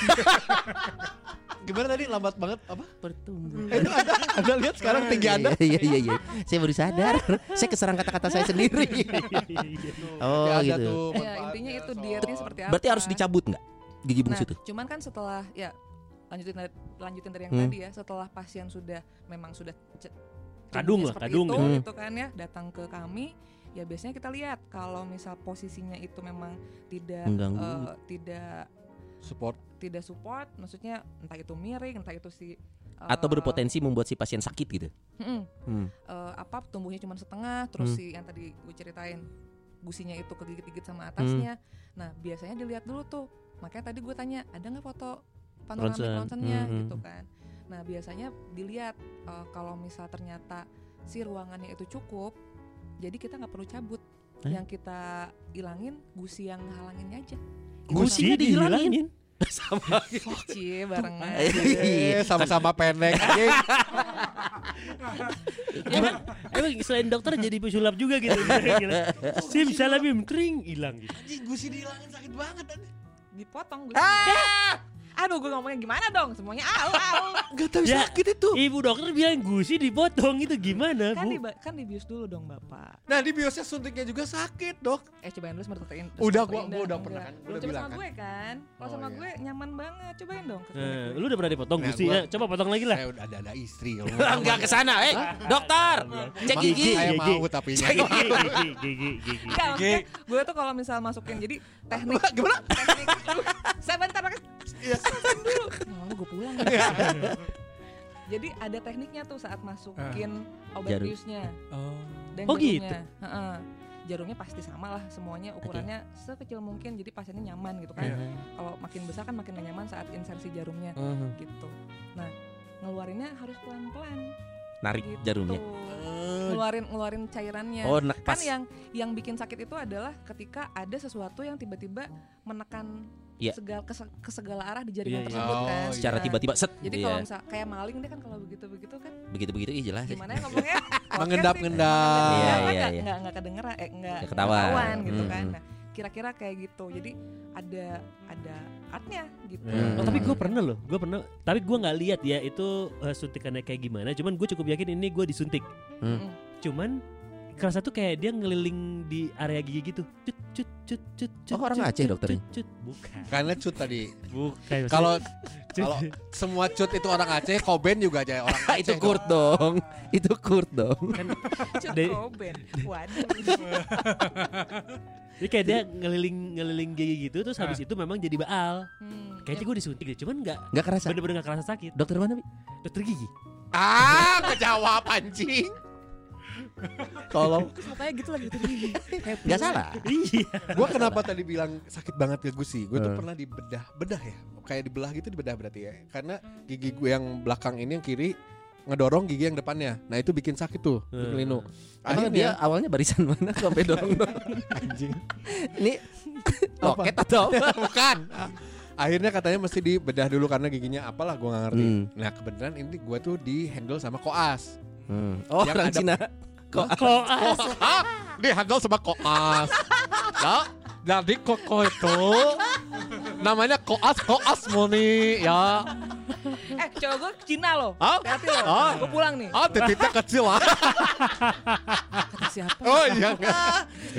S4: Gimana tadi lambat banget apa?
S2: Pertumbuhan.
S4: Eh, itu ada, ada lihat sekarang tinggi Anda.
S2: Iya iya iya. Saya baru sadar. Saya keserang kata-kata saya sendiri.
S4: Iya.
S2: Oh,
S4: Ya, ada
S2: gitu.
S4: tuh
S6: Ya,
S4: manfaatnya,
S6: intinya itu
S4: so.
S6: dietnya seperti apa.
S2: Berarti harus dicabut nggak gigi
S6: Nah,
S2: bungsu tuh?
S6: cuman kan setelah ya lanjutin dari, lanjutin dari yang
S2: Hmm.
S6: tadi ya, setelah pasien sudah memang sudah ce-
S3: Kadung
S6: cenderungnya
S3: lah,
S6: seperti
S3: kadung
S6: itu,
S2: ya.
S6: gitu kan ya, datang ke kami ya biasanya kita lihat kalau misal posisinya itu memang tidak
S2: Mengganggu.
S6: eh, tidak
S4: support.
S6: tidak support, maksudnya entah itu miring, entah itu si eh,
S2: Atau berpotensi membuat si pasien sakit gitu.
S6: Mm-mm.
S2: Hmm.
S6: eh, apa tumbuhnya cuma setengah terus
S2: Hmm.
S6: si yang tadi gue ceritain gusinya itu kegigit-gigit
S2: Hmm.
S6: sama atasnya nah biasanya dilihat dulu tuh makanya tadi gue tanya ada nggak foto panoramik
S2: Ronsen.
S6: ronsennya
S2: Mhm.
S6: gitu kan nah biasanya dilihat eh, kalau misal ternyata si ruangannya itu cukup jadi kita nggak perlu cabut
S2: Hah?
S6: yang kita ilangin gusi yang halanginnya aja
S2: Gusinya dihilangin. Sama.
S6: Cie barengan
S4: Eh, sama-sama pendek anjing.
S3: Emang, emang selain dokter jadi pesulap juga gitu Gila. Sim salamim kering hilang gitu
S4: Anjing gusi dihilangin sakit banget anjing.
S6: dipotong gusi
S2: Ah!
S6: aduh gue ngomongnya gimana dong semuanya au au
S4: Enggak tahu
S3: Ya.
S4: sakit itu.
S3: Ibu dokter bilang gusi dipotong itu gimana
S6: kan
S3: bu?
S6: di kan dibius dulu dong bapak
S4: Nah, di biosnya suntiknya juga sakit, Dok.
S6: Eh cobain dulu semertein.
S4: Udah, gua- gua udah pernah kan, gua
S6: Lu
S4: udah
S6: coba
S4: bilang
S6: sama
S4: kan.
S6: gue kan. Kalau
S4: Oh,
S6: sama
S4: iya.
S6: gue nyaman banget. Cobain dong ke klinik
S3: Eh,
S6: gue.
S3: lu udah pernah dipotong
S4: Nah,
S3: gusinya?
S4: gua-
S3: Coba potong lagi lah.
S4: Saya Eh, udah ada, ada istri. ya
S2: Enggak ke sana, eh. Dokter, cek
S4: Emang
S2: gigi.
S4: Saya
S3: Gigi.
S4: mau tapi
S3: Oh, Gigi, gigi, gigi, gigi.
S6: Enggak, maksudnya gue tuh kalau misal masukin jadi teknik
S4: Gimana? Iya.
S6: teknik. Sebentar, Mas. mau gue pulang jadi ada tekniknya tuh saat masukin
S4: Ah.
S6: obat
S2: Jarum.
S6: biusnya
S5: Oh.
S6: dan
S3: Oh,
S6: jarumnya.
S3: gitu.
S6: Heeh. jarumnya pasti sama lah semuanya ukurannya sekecil mungkin jadi pasiennya nyaman gitu
S5: Iya.
S4: Iya.
S6: kan kalau makin besar kan makin gak nyaman saat insersi jarumnya
S3: Oh.
S6: gitu nah ngeluarinnya harus pelan pelan
S2: Narik
S6: gitu
S2: jarumnya.
S6: ngeluarin ngeluarin cairannya
S2: Oh, nak
S6: kan
S2: pas.
S6: yang yang bikin sakit itu adalah ketika ada sesuatu yang tiba-tiba menekan
S2: Iya.
S6: segala ke, se- ke segala arah di
S3: Iya, iya.
S6: jaringan tersebut
S4: Oh,
S6: kan.
S4: iya.
S2: Secara
S6: Nah,
S2: tiba-tiba set.
S6: Jadi
S2: Iya.
S6: kalau misal kayak maling deh kan kalau begitu-begitu kan
S2: begitu-begitu ih jelas.
S6: gimana ya ngomongnya? Podcast sih.
S4: Mengendap-ngendap.
S2: Iya,
S6: Kan
S2: iya,
S6: nggak-
S2: iya.
S6: nggak- nggak kedengeran eh nggak
S2: Ya, ketahuan.
S6: ketahuan gitu
S2: Hmm,
S6: kan.
S2: hmm.
S6: Nah, kira-kira kayak gitu. Jadi ada ada artnya gitu.
S2: Hmm.
S3: Oh, tapi gue pernah loh, gue pernah. Tapi gue nggak lihat ya itu eh, suntikannya kayak gimana. Cuman gue cukup yakin ini gue disuntik.
S2: Hmm.
S6: Mm-mm.
S3: Cuman kerasa tuh kayak dia ngeliling di area gigi gitu. Cut cut cut cut. cut,
S2: Oh, orang
S3: cut,
S2: Aceh
S3: cut,
S2: dokternya?
S3: cut, cut. Bukan.
S4: Karena cut tadi.
S3: Bukan. maksudnya
S4: Kalau
S3: cut.
S4: kalau semua cut itu orang Aceh, Koben juga aja orang
S2: Ah,
S4: Aceh.
S2: itu
S4: dong.
S2: Kurt dong. Itu Kurt dong.
S3: Dari-
S6: Cukup Ben. Waduh.
S3: Jadi kayak dia ngeliling ngeliling gigi gitu terus habis itu memang jadi baal.
S6: Hmm,
S3: Kayaknya gue disuntik deh, cuman nggak
S2: Enggak kerasa.
S3: bener-bener nggak kerasa sakit.
S2: Dokter mana, Bi?
S3: Dokter gigi.
S4: Ah, kejawab anjing.
S2: Tolong.
S6: Terus mukanya gitu lagi gitu. Happy.
S2: Enggak salah.
S3: Iya.
S4: Gua kenapa tadi bilang sakit banget ke gusi? Gue tuh
S2: Eh.
S4: pernah dibedah, bedah ya. Kayak dibelah gitu dibedah berarti ya. Karena gigi gue yang belakang ini yang kiri ngedorong gigi yang depannya. Nah, itu bikin sakit tuh,
S3: Eh.
S4: Lino.
S2: Emang dia
S4: Akhirnya
S2: awalnya barisan mana sampai dorong dorong anjing. Ini loket atau apa?
S4: bukan. Akhirnya katanya mesti dibedah dulu karena giginya apalah gua nggak ngerti.
S2: Hmm.
S4: Nah, kebenaran ini gue tuh di handle sama koas.
S2: Oh,
S4: Yang
S2: orang
S4: ada-
S2: Cina.
S4: koas. Hah? Dihandle sama koas. Nah, jadi koko itu namanya koas koas moni ya.
S6: Eh, cowok gue Cina loh.
S4: Oh,
S6: Hati loh.
S4: Oh.
S6: Gue pulang nih.
S4: oh titiknya kecil lah.
S6: Kata siapa?
S4: Oh iya.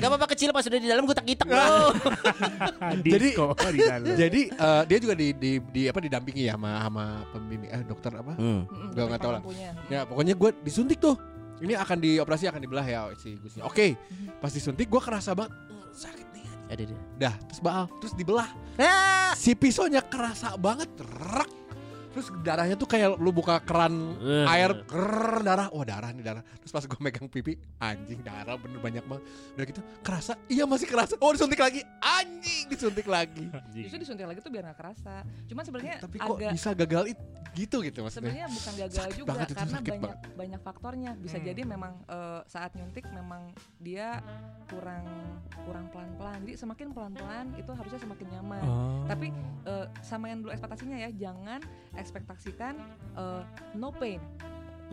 S1: Gak apa-apa kecil pas udah di dalam gue tak gitek
S4: Jadi jadi eh, dia juga di, di, di apa didampingi ya sama sama pembimbing eh dokter apa?
S2: Hmm.
S6: Mm-mm,
S4: Gua nggak tahu lah.
S6: pampunya.
S4: Ya pokoknya gue disuntik tuh. Ini akan dioperasi akan dibelah ya si Gusnya. Oke, pas disuntik gue kerasa banget "Eh, sakit nih.
S2: Ada dia.
S4: Dah, terus baal, terus dibelah. Si pisaunya kerasa banget, rak. Terus darahnya tuh kayak lu buka keran
S3: Eh.
S4: air, krrr, darah. Wah darah nih darah. Terus pas gue megang pipi, anjing darah bener banyak banget. Udah gitu, kerasa, iya masih kerasa. Oh disuntik lagi, anjing disuntik lagi.
S6: Justru disuntik lagi tuh biar nggak kerasa. Cuman sebenarnya
S4: Tapi kok
S6: agak
S4: bisa gagal itu gitu gitu maksudnya?
S6: sebenarnya bukan gagal
S4: Sakit
S6: juga
S4: banget itu,
S6: karena
S4: sakit
S6: banyak
S4: banget.
S6: banyak faktornya. Bisa
S5: Hmm.
S6: jadi memang eh, saat nyuntik memang dia kurang kurang pelan-pelan. Jadi semakin pelan-pelan itu harusnya semakin nyaman.
S4: Oh.
S5: Oh.
S6: Tapi eh, sama yang dulu ekspektasinya ya, jangan ekspektasikan eh, no pain.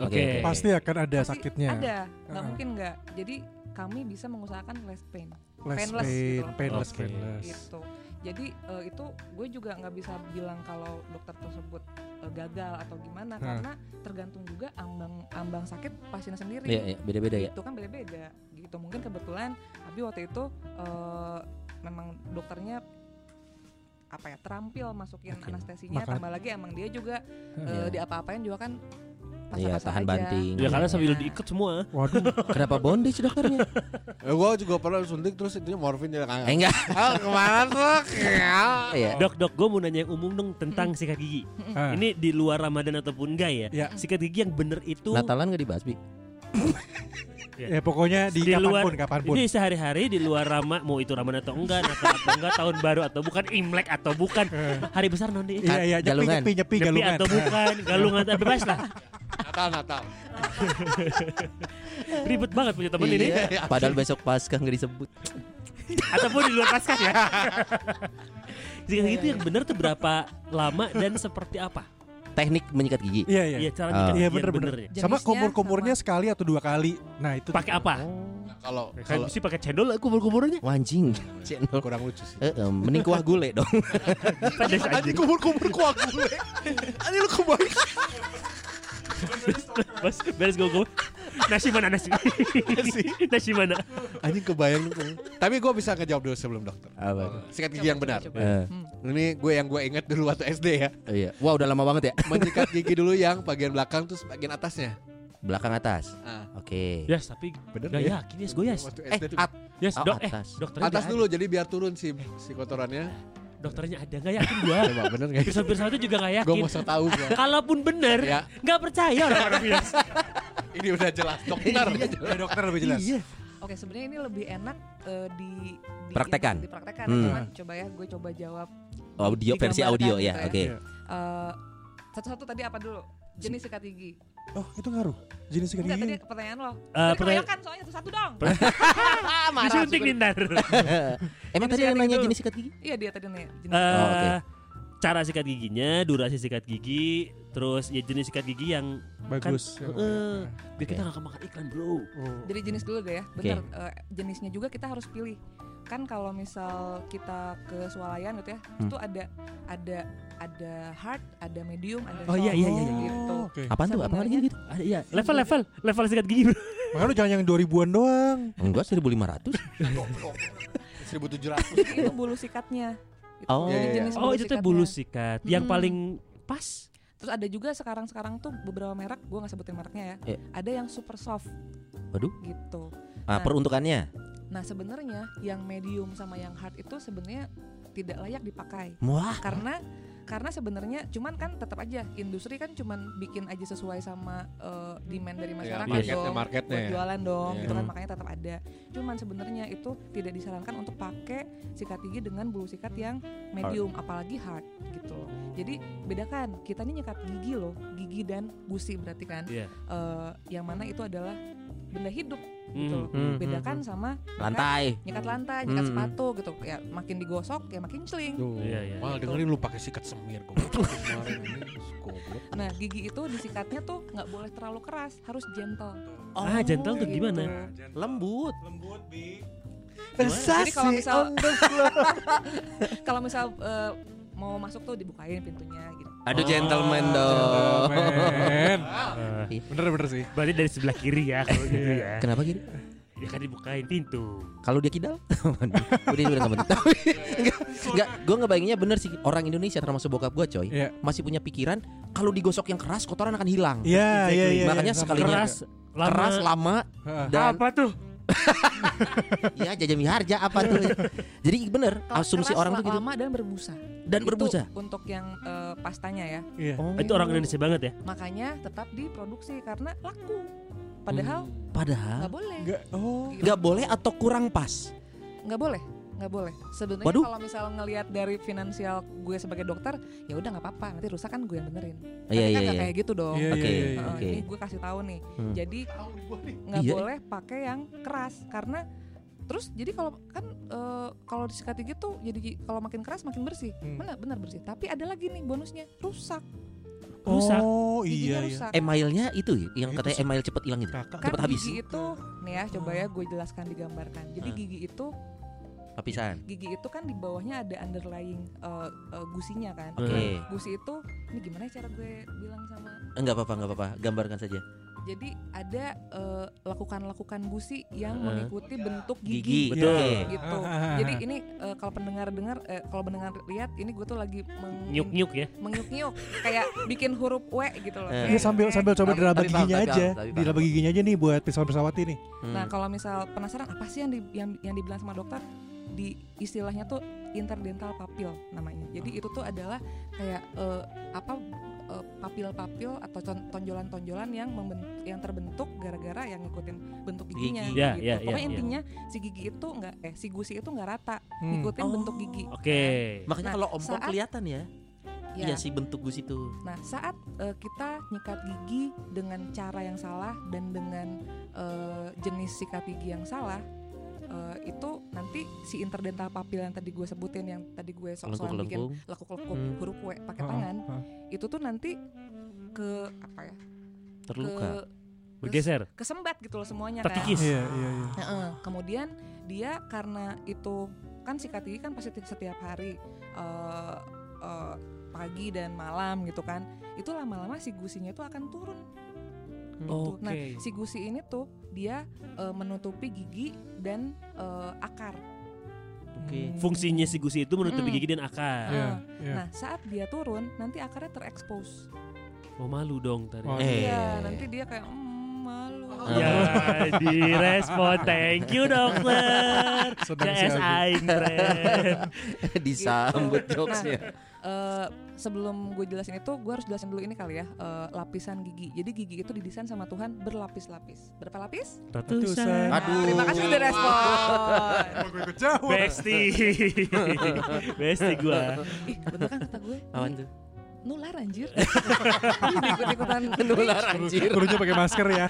S3: Oke.
S2: Oke, oke.
S5: pasti akan ada
S6: Pasti
S5: sakitnya.
S6: Ada, nggak
S5: Uh-uh.
S6: mungkin nggak. Jadi kami bisa mengusahakan less pain.
S5: Less
S6: painless
S5: pain,
S6: gitu loh.
S5: painless,
S3: Oke.
S5: painless.
S6: gitu. Jadi eh, itu gue juga nggak bisa bilang kalau dokter tersebut eh, gagal atau
S2: Nah.
S6: gimana
S5: Hmm.
S6: karena tergantung juga ambang ambang sakit pasiennya sendiri.
S2: Iya, iya, beda-beda ya.
S6: Itu kan beda-beda gitu. Mungkin kebetulan Abi waktu itu eh, memang dokternya apa ya terampil masukin
S2: Makin-
S6: anestesinya
S5: maka-
S6: tambah lagi emang dia juga
S2: Iya.
S6: eh, diapa-apain juga kan
S2: Iya,
S6: pasar-pasar
S2: tahan
S6: aja.
S2: banting.
S3: Ya karena
S6: Iya.
S3: sambil diikat semua.
S5: Waduh,
S2: Kenapa bondage dokternya?
S4: Eh, gue juga pernah suntik terus itu morfin dia
S2: Eh,
S4: kangen.
S2: enggak.
S4: Ah kemana tuh? Ya.
S2: Iya.
S3: Dok dok, gue mau nanya yang umum dong tentang sikat gigi.
S5: Ah.
S3: Ini di luar Ramadan ataupun enggak ya?
S5: Iya.
S3: Sikat gigi yang bener itu
S2: Natalan enggak dibahas, Bi?
S5: ya pokoknya di, kapanpun, kapanpun.
S3: Ini sehari-hari di luar Rama, mau itu Ramadan atau enggak, Natal atau enggak, tahun baru atau bukan, Imlek atau bukan, hari besar nanti.
S5: Iya, iya, nyepi,
S2: Galungan.
S5: nyepi, nyepi,
S3: Nyepi
S5: galungan.
S3: atau bukan, galungan atau bebas lah.
S4: Natal Natal.
S3: Ribet banget punya temen ini.
S2: Iya. Padahal besok Paskah enggak disebut.
S3: Ataupun di luar pasca ya. Jika gitu yang bener tuh berapa lama dan seperti apa?
S2: Teknik menyikat gigi.
S5: Iya, iya.
S3: Iya, cara
S2: Ah.
S3: nyikat
S5: Iya,
S3: gigi yang
S5: bener-bener.
S3: benernya.
S5: Sama
S6: Jenisnya
S5: kumur-kumurnya sekali atau dua kali. Nah, itu
S3: Pakai apa?
S4: Kalau
S3: Kan
S4: kalau
S3: mesti pakai cendol lah kubur-kuburnya.
S2: Wah, anjing. Channel.
S4: kurang lucu sih.
S2: Eh, em, mending kuah gulai dong.
S3: Pedes aja.
S4: Anjing kubur-kubur kuah gue. Anjing lu kebayang.
S3: Bas, beres gue Nasi mana nasi? nasi mana?
S4: Anjing kebayang lu. kebayang. Tapi gue bisa ngejawab dulu sebelum dokter. Eh,
S2: Apa tuh?
S4: Sikat gigi yang benar. Hmm.
S6: Coba,
S2: Eh,
S6: coba,
S4: Ini gue yang gue inget dulu waktu SD ya.
S2: iya. Wah, udah lama banget ya.
S4: Menyikat gigi dulu yang bagian belakang terus bagian atasnya.
S2: Belakang atas.
S4: Ah.
S2: Oke.
S3: Yes, tapi
S4: Bener
S3: gak
S4: ya?
S3: yakin yes, gue yes.
S4: Waktu
S2: Eh,
S4: SD tuh.
S2: at-
S3: Yes,
S2: Oh,
S3: dok, eh,
S2: atas.
S3: dokter
S4: atas dulu jadi biar turun si si kotorannya.
S3: dokternya ada nggak yakin gua
S4: Coba bener nggak?
S3: pirsa-pirsa itu juga nggak
S4: Gue
S3: yakin
S4: mau tahu gua.
S3: kalaupun bener
S4: Ya.
S3: nggak percaya orang-orang Eh, biasa
S4: Ini udah jelas dokter.
S5: Ya, dokter lebih jelas.
S2: Iya.
S6: Oke, sebenarnya ini lebih enak eh, di, di
S2: Praktekan.
S6: dipraktekan.
S2: Hmm.
S6: Cuman coba ya, gue coba jawab
S2: Audio versi
S6: Digambarkan
S2: audio
S6: gitu
S2: ya,
S6: ya.
S2: oke.
S6: eh, satu-satu tadi apa dulu? Jenis sikat gigi.
S5: Oh, itu ngaruh. Jenis ikan
S6: Enggak tadi
S5: gigi.
S6: pertanyaan lo.
S3: Eh,
S6: tadi
S3: pertanyaan-
S6: kebanyakan soalnya satu-satu dong.
S3: disuntik nih ntar
S2: Emang
S6: Jenis
S2: tadi yang
S6: sikat
S2: nanya
S6: gigi
S2: jenis sikat gigi?
S6: Iya dia tadi nih. Jenis.
S3: Eh,
S2: Oh, oke.
S3: cara sikat giginya durasi sikat gigi terus ya jenis sikat gigi yang kan,
S5: Bagus. Ya,
S3: eh, biar
S2: Oke.
S3: kita nggak kemakan iklan bro
S6: Dari jenis dulu deh ya. Bener eh, jenisnya juga kita harus pilih. Kan kalau misal kita ke swalayan gitu ya,
S2: Hmm.
S6: itu ada ada ada hard, ada medium, ada
S3: Oh, iya,
S6: soft
S3: iya, iya, iya.
S6: gitu.
S5: Oke.
S2: Apaan tuh? Apaan lagi
S6: Sebenarnya-
S2: gitu?
S3: ada ya level level level sikat gigi bro
S5: Makanya lu jangan yang 2000-an doang.
S2: Enggak 1500.
S4: 1700.
S6: Jadi itu bulu sikatnya. Gitu.
S2: Oh.
S6: Jadi
S4: Iya, iya,
S6: jenis
S3: oh itu tuh
S6: sikatnya.
S3: bulu sikat Hmm. yang
S6: Mm-mm.
S3: paling pas
S6: Terus ada juga sekarang-sekarang tuh beberapa merek, gue nggak sebutin mereknya ya.
S2: Iya.
S6: Ada yang super soft
S2: Waduh.
S6: gitu.
S2: Ah, peruntukannya.
S6: Nah sebenarnya yang medium sama yang hard itu sebenarnya tidak layak dipakai
S2: Wah.
S6: karena karena sebenarnya cuman kan tetap aja industri kan cuman bikin aja sesuai sama eh, demand
S3: Iya,
S6: dari
S4: Ya,
S6: masyarakat
S4: marketnya,
S6: dong
S4: marketnya
S6: buat
S4: ya.
S6: jualan dong
S4: Iya.
S6: gitu kan
S2: Hmm.
S6: makanya tetap ada cuman sebenarnya itu tidak disarankan untuk pakai sikat gigi dengan bulu sikat yang medium apalagi hard gitu loh jadi bedakan kita ini nyekat gigi loh gigi dan gusi berarti kan
S3: Iya.
S6: Eh, yang mana itu adalah benda hidup gitu
S3: Mm.
S6: loh.
S2: Hmm, hmm,
S6: bedakan sama nyekat-
S2: Lantai.
S6: nyekat lantai nyekat
S2: Hmm.
S6: sepatu gitu ya makin digosok ya makin celing
S4: Tuh.
S3: Iya, iya.
S4: Mal dengerin lu pakai sikat semir gue. Kemarin ini goblok.
S6: Nah gigi itu disikatnya tuh nggak boleh terlalu keras, harus gentle.
S3: ah jantel tuh
S6: gitu.
S3: gimana
S2: Lembut.
S5: Lembut, Bi.
S6: Jadi kalau misal kalau misal eh, mau masuk tuh dibukain pintunya gitu.
S2: Aduh Oh, gentleman dong. Iya.
S5: Gentleman. Eh. Bener-bener sih.
S3: berarti dari sebelah kiri ya kalau gitu ya
S2: Kenapa gini?
S3: ya kan dibukain pintu
S2: Kalau dia kidal, udah udah nggak penting. Tapi enggak, enggak, gue ngebayanginnya bener sih orang Indonesia termasuk bokap gue coy
S5: Iya.
S2: masih punya pikiran kalau digosok yang keras kotoran akan hilang.
S5: Iya, iya, iya.
S2: Makanya
S5: iya.
S2: sekalinya-
S3: keras lama
S2: Keras lama
S5: Heeh.
S2: dan
S3: apa tuh
S2: ya jajami harja apa tuh.
S5: Iya.
S2: Jadi bener
S6: Kalau
S2: asumsi
S6: keras,
S2: orang
S6: la-
S2: tuh gitu
S6: lama dan berbusa.
S2: dan
S6: Itu
S2: berbusa.
S6: untuk yang eh, pastanya ya.
S5: Iya.
S2: Oh.
S3: itu orang Indonesia banget ya
S6: Makanya tetap diproduksi karena laku. Padahal
S2: Padahal
S6: nggak boleh.
S5: Enggak. Oh.
S6: Gitu.
S2: nggak boleh atau kurang pas.
S6: nggak boleh nggak boleh sebenarnya
S2: Waduh.
S6: kalau misal ngelihat dari finansial gue sebagai dokter ya udah nggak apa-apa nanti rusak kan gue yang benerin
S2: Iya,
S6: Tapi kan
S2: iya,
S6: nggak
S2: iya.
S6: kayak gitu dong
S5: Iya,
S2: Oke,
S5: iya, iya,
S6: Heeh,
S5: iya.
S2: oke.
S6: ini gue kasih tahu nih
S2: Hmm.
S6: jadi nggak
S2: Iya.
S6: boleh pakai yang keras karena terus jadi kalau kan eh, kalau disikat gigi tuh jadi kalau makin keras makin bersih
S5: Hmm.
S6: benar benar bersih tapi ada lagi nih bonusnya rusak
S3: Rusak.
S5: Oh,
S6: giginya
S5: iya, iya.
S6: rusak
S2: Emailnya itu yang
S5: Itu
S2: katanya
S5: sih.
S2: email cepet hilang gitu.
S5: Kakak.
S6: kan
S2: Eh, Cepet habis.
S6: gigi itu nih ya coba ya
S5: Hmm.
S6: gue jelaskan digambarkan jadi
S2: Hmm.
S6: gigi itu
S2: Papisan.
S6: gigi itu kan di bawahnya ada underlying eh, eh, gusinya kan
S5: Nah.
S2: Oke.
S6: gusi itu ini gimana ya cara gue bilang sama
S2: Enggak apa-apa, enggak apa-apa. Gambarkan saja.
S5: Iya.
S6: jadi ada eh, lakukan-lakukan gusi yang
S2: Heeh.
S6: mengikuti bentuk
S2: Gigi.
S6: gigi,
S2: Betul.
S5: Iya.
S6: gitu
S5: Ah.
S6: jadi ini eh, kalau pendengar dengar eh, kalau pendengar lihat ini gue tuh lagi meng-
S3: nyuk nyuk ya
S6: mengyuk-nyuk kayak bikin huruf w gitu loh
S2: Eh.
S5: Ini Iya, sambil sambil coba
S2: Tapi-
S5: diraba
S2: tapi paham,
S5: giginya
S2: tapi
S5: aja.
S2: paham, tapi paham.
S5: Diraba giginya aja nih buat pisau pesawati nih.
S2: Hmm.
S6: nah kalau misal penasaran apa sih yang di- yang, yang dibilang sama dokter di istilahnya tuh interdental papil namanya jadi itu tuh adalah kayak eh, apa eh, papil-papil atau ton- tonjolan-tonjolan yang memben- yang terbentuk gara-gara yang ngikutin bentuk giginya
S2: Gigi.
S6: gitu.
S3: Ya, ya, ya,
S6: Pokoknya
S3: ya.
S6: intinya si gigi itu nggak eh si gusi itu nggak rata,
S5: Hmm.
S6: ngikutin
S2: Oh.
S6: bentuk gigi.
S3: oke
S2: Makanya
S6: Nah,
S2: kalau om kok
S6: saat-
S2: kelihatan ya.
S6: Ya.
S2: Iya sih bentuk gus itu.
S6: Nah, saat eh, kita nyikat gigi dengan cara yang salah dan dengan eh, jenis sikat gigi yang salah eh, itu nanti si interdental papil yang tadi gue sebutin yang tadi gue sok-sokan bikin
S2: Lengkung-lengkung.
S6: lekuk-lekuk
S2: Hmm.
S6: huruf W pakai
S5: Heeh,
S6: tangan
S5: heeh.
S6: itu tuh nanti ke apa ya
S2: Terluka.
S6: ke
S3: bergeser
S6: kesembat gitu loh semuanya kan
S3: terkikis
S5: Iya, iya, iya.
S6: Heeh. kemudian dia karena itu kan sikat gigi kan pasti ti- setiap hari eh, eh, pagi dan malam gitu kan itu lama-lama si gusinya itu akan turun gitu. Nah,
S3: Oke.
S6: si gusi ini tuh dia eh, menutupi gigi dan eh, akar.
S2: Oke.
S3: fungsinya si gusi itu menutupi
S6: Mm.
S3: gigi dan akar
S5: Iya,
S6: Ah.
S5: iya.
S6: Nah, saat dia turun, nanti akarnya terekspos.
S3: Oh malu dong tadi.
S5: Oh,
S2: Eh.
S6: Iya, nanti dia kayak "Mm," malu.
S2: Oh,
S3: Ya direspon thank you dokter
S5: Senang
S3: CS
S5: sekali.
S3: Aing friend
S2: Eh,
S6: Iya.
S2: Disambut
S6: Gitu.
S2: jokesnya.
S6: Eh, sebelum gue jelasin itu, gue harus jelasin dulu ini kali ya eh, lapisan gigi. Jadi gigi itu didesain sama Tuhan berlapis-lapis. Berapa lapis?
S5: Ratusan.
S6: Nah,
S2: Aduh.
S6: terima kasih udah respon.
S3: Besti Besti gua
S6: Ih, bener kan kata gue?
S2: Awan tuh.
S6: Nular anjir. Ikut-ikutan
S2: Nular anjir.
S5: Kurunya pakai masker ya.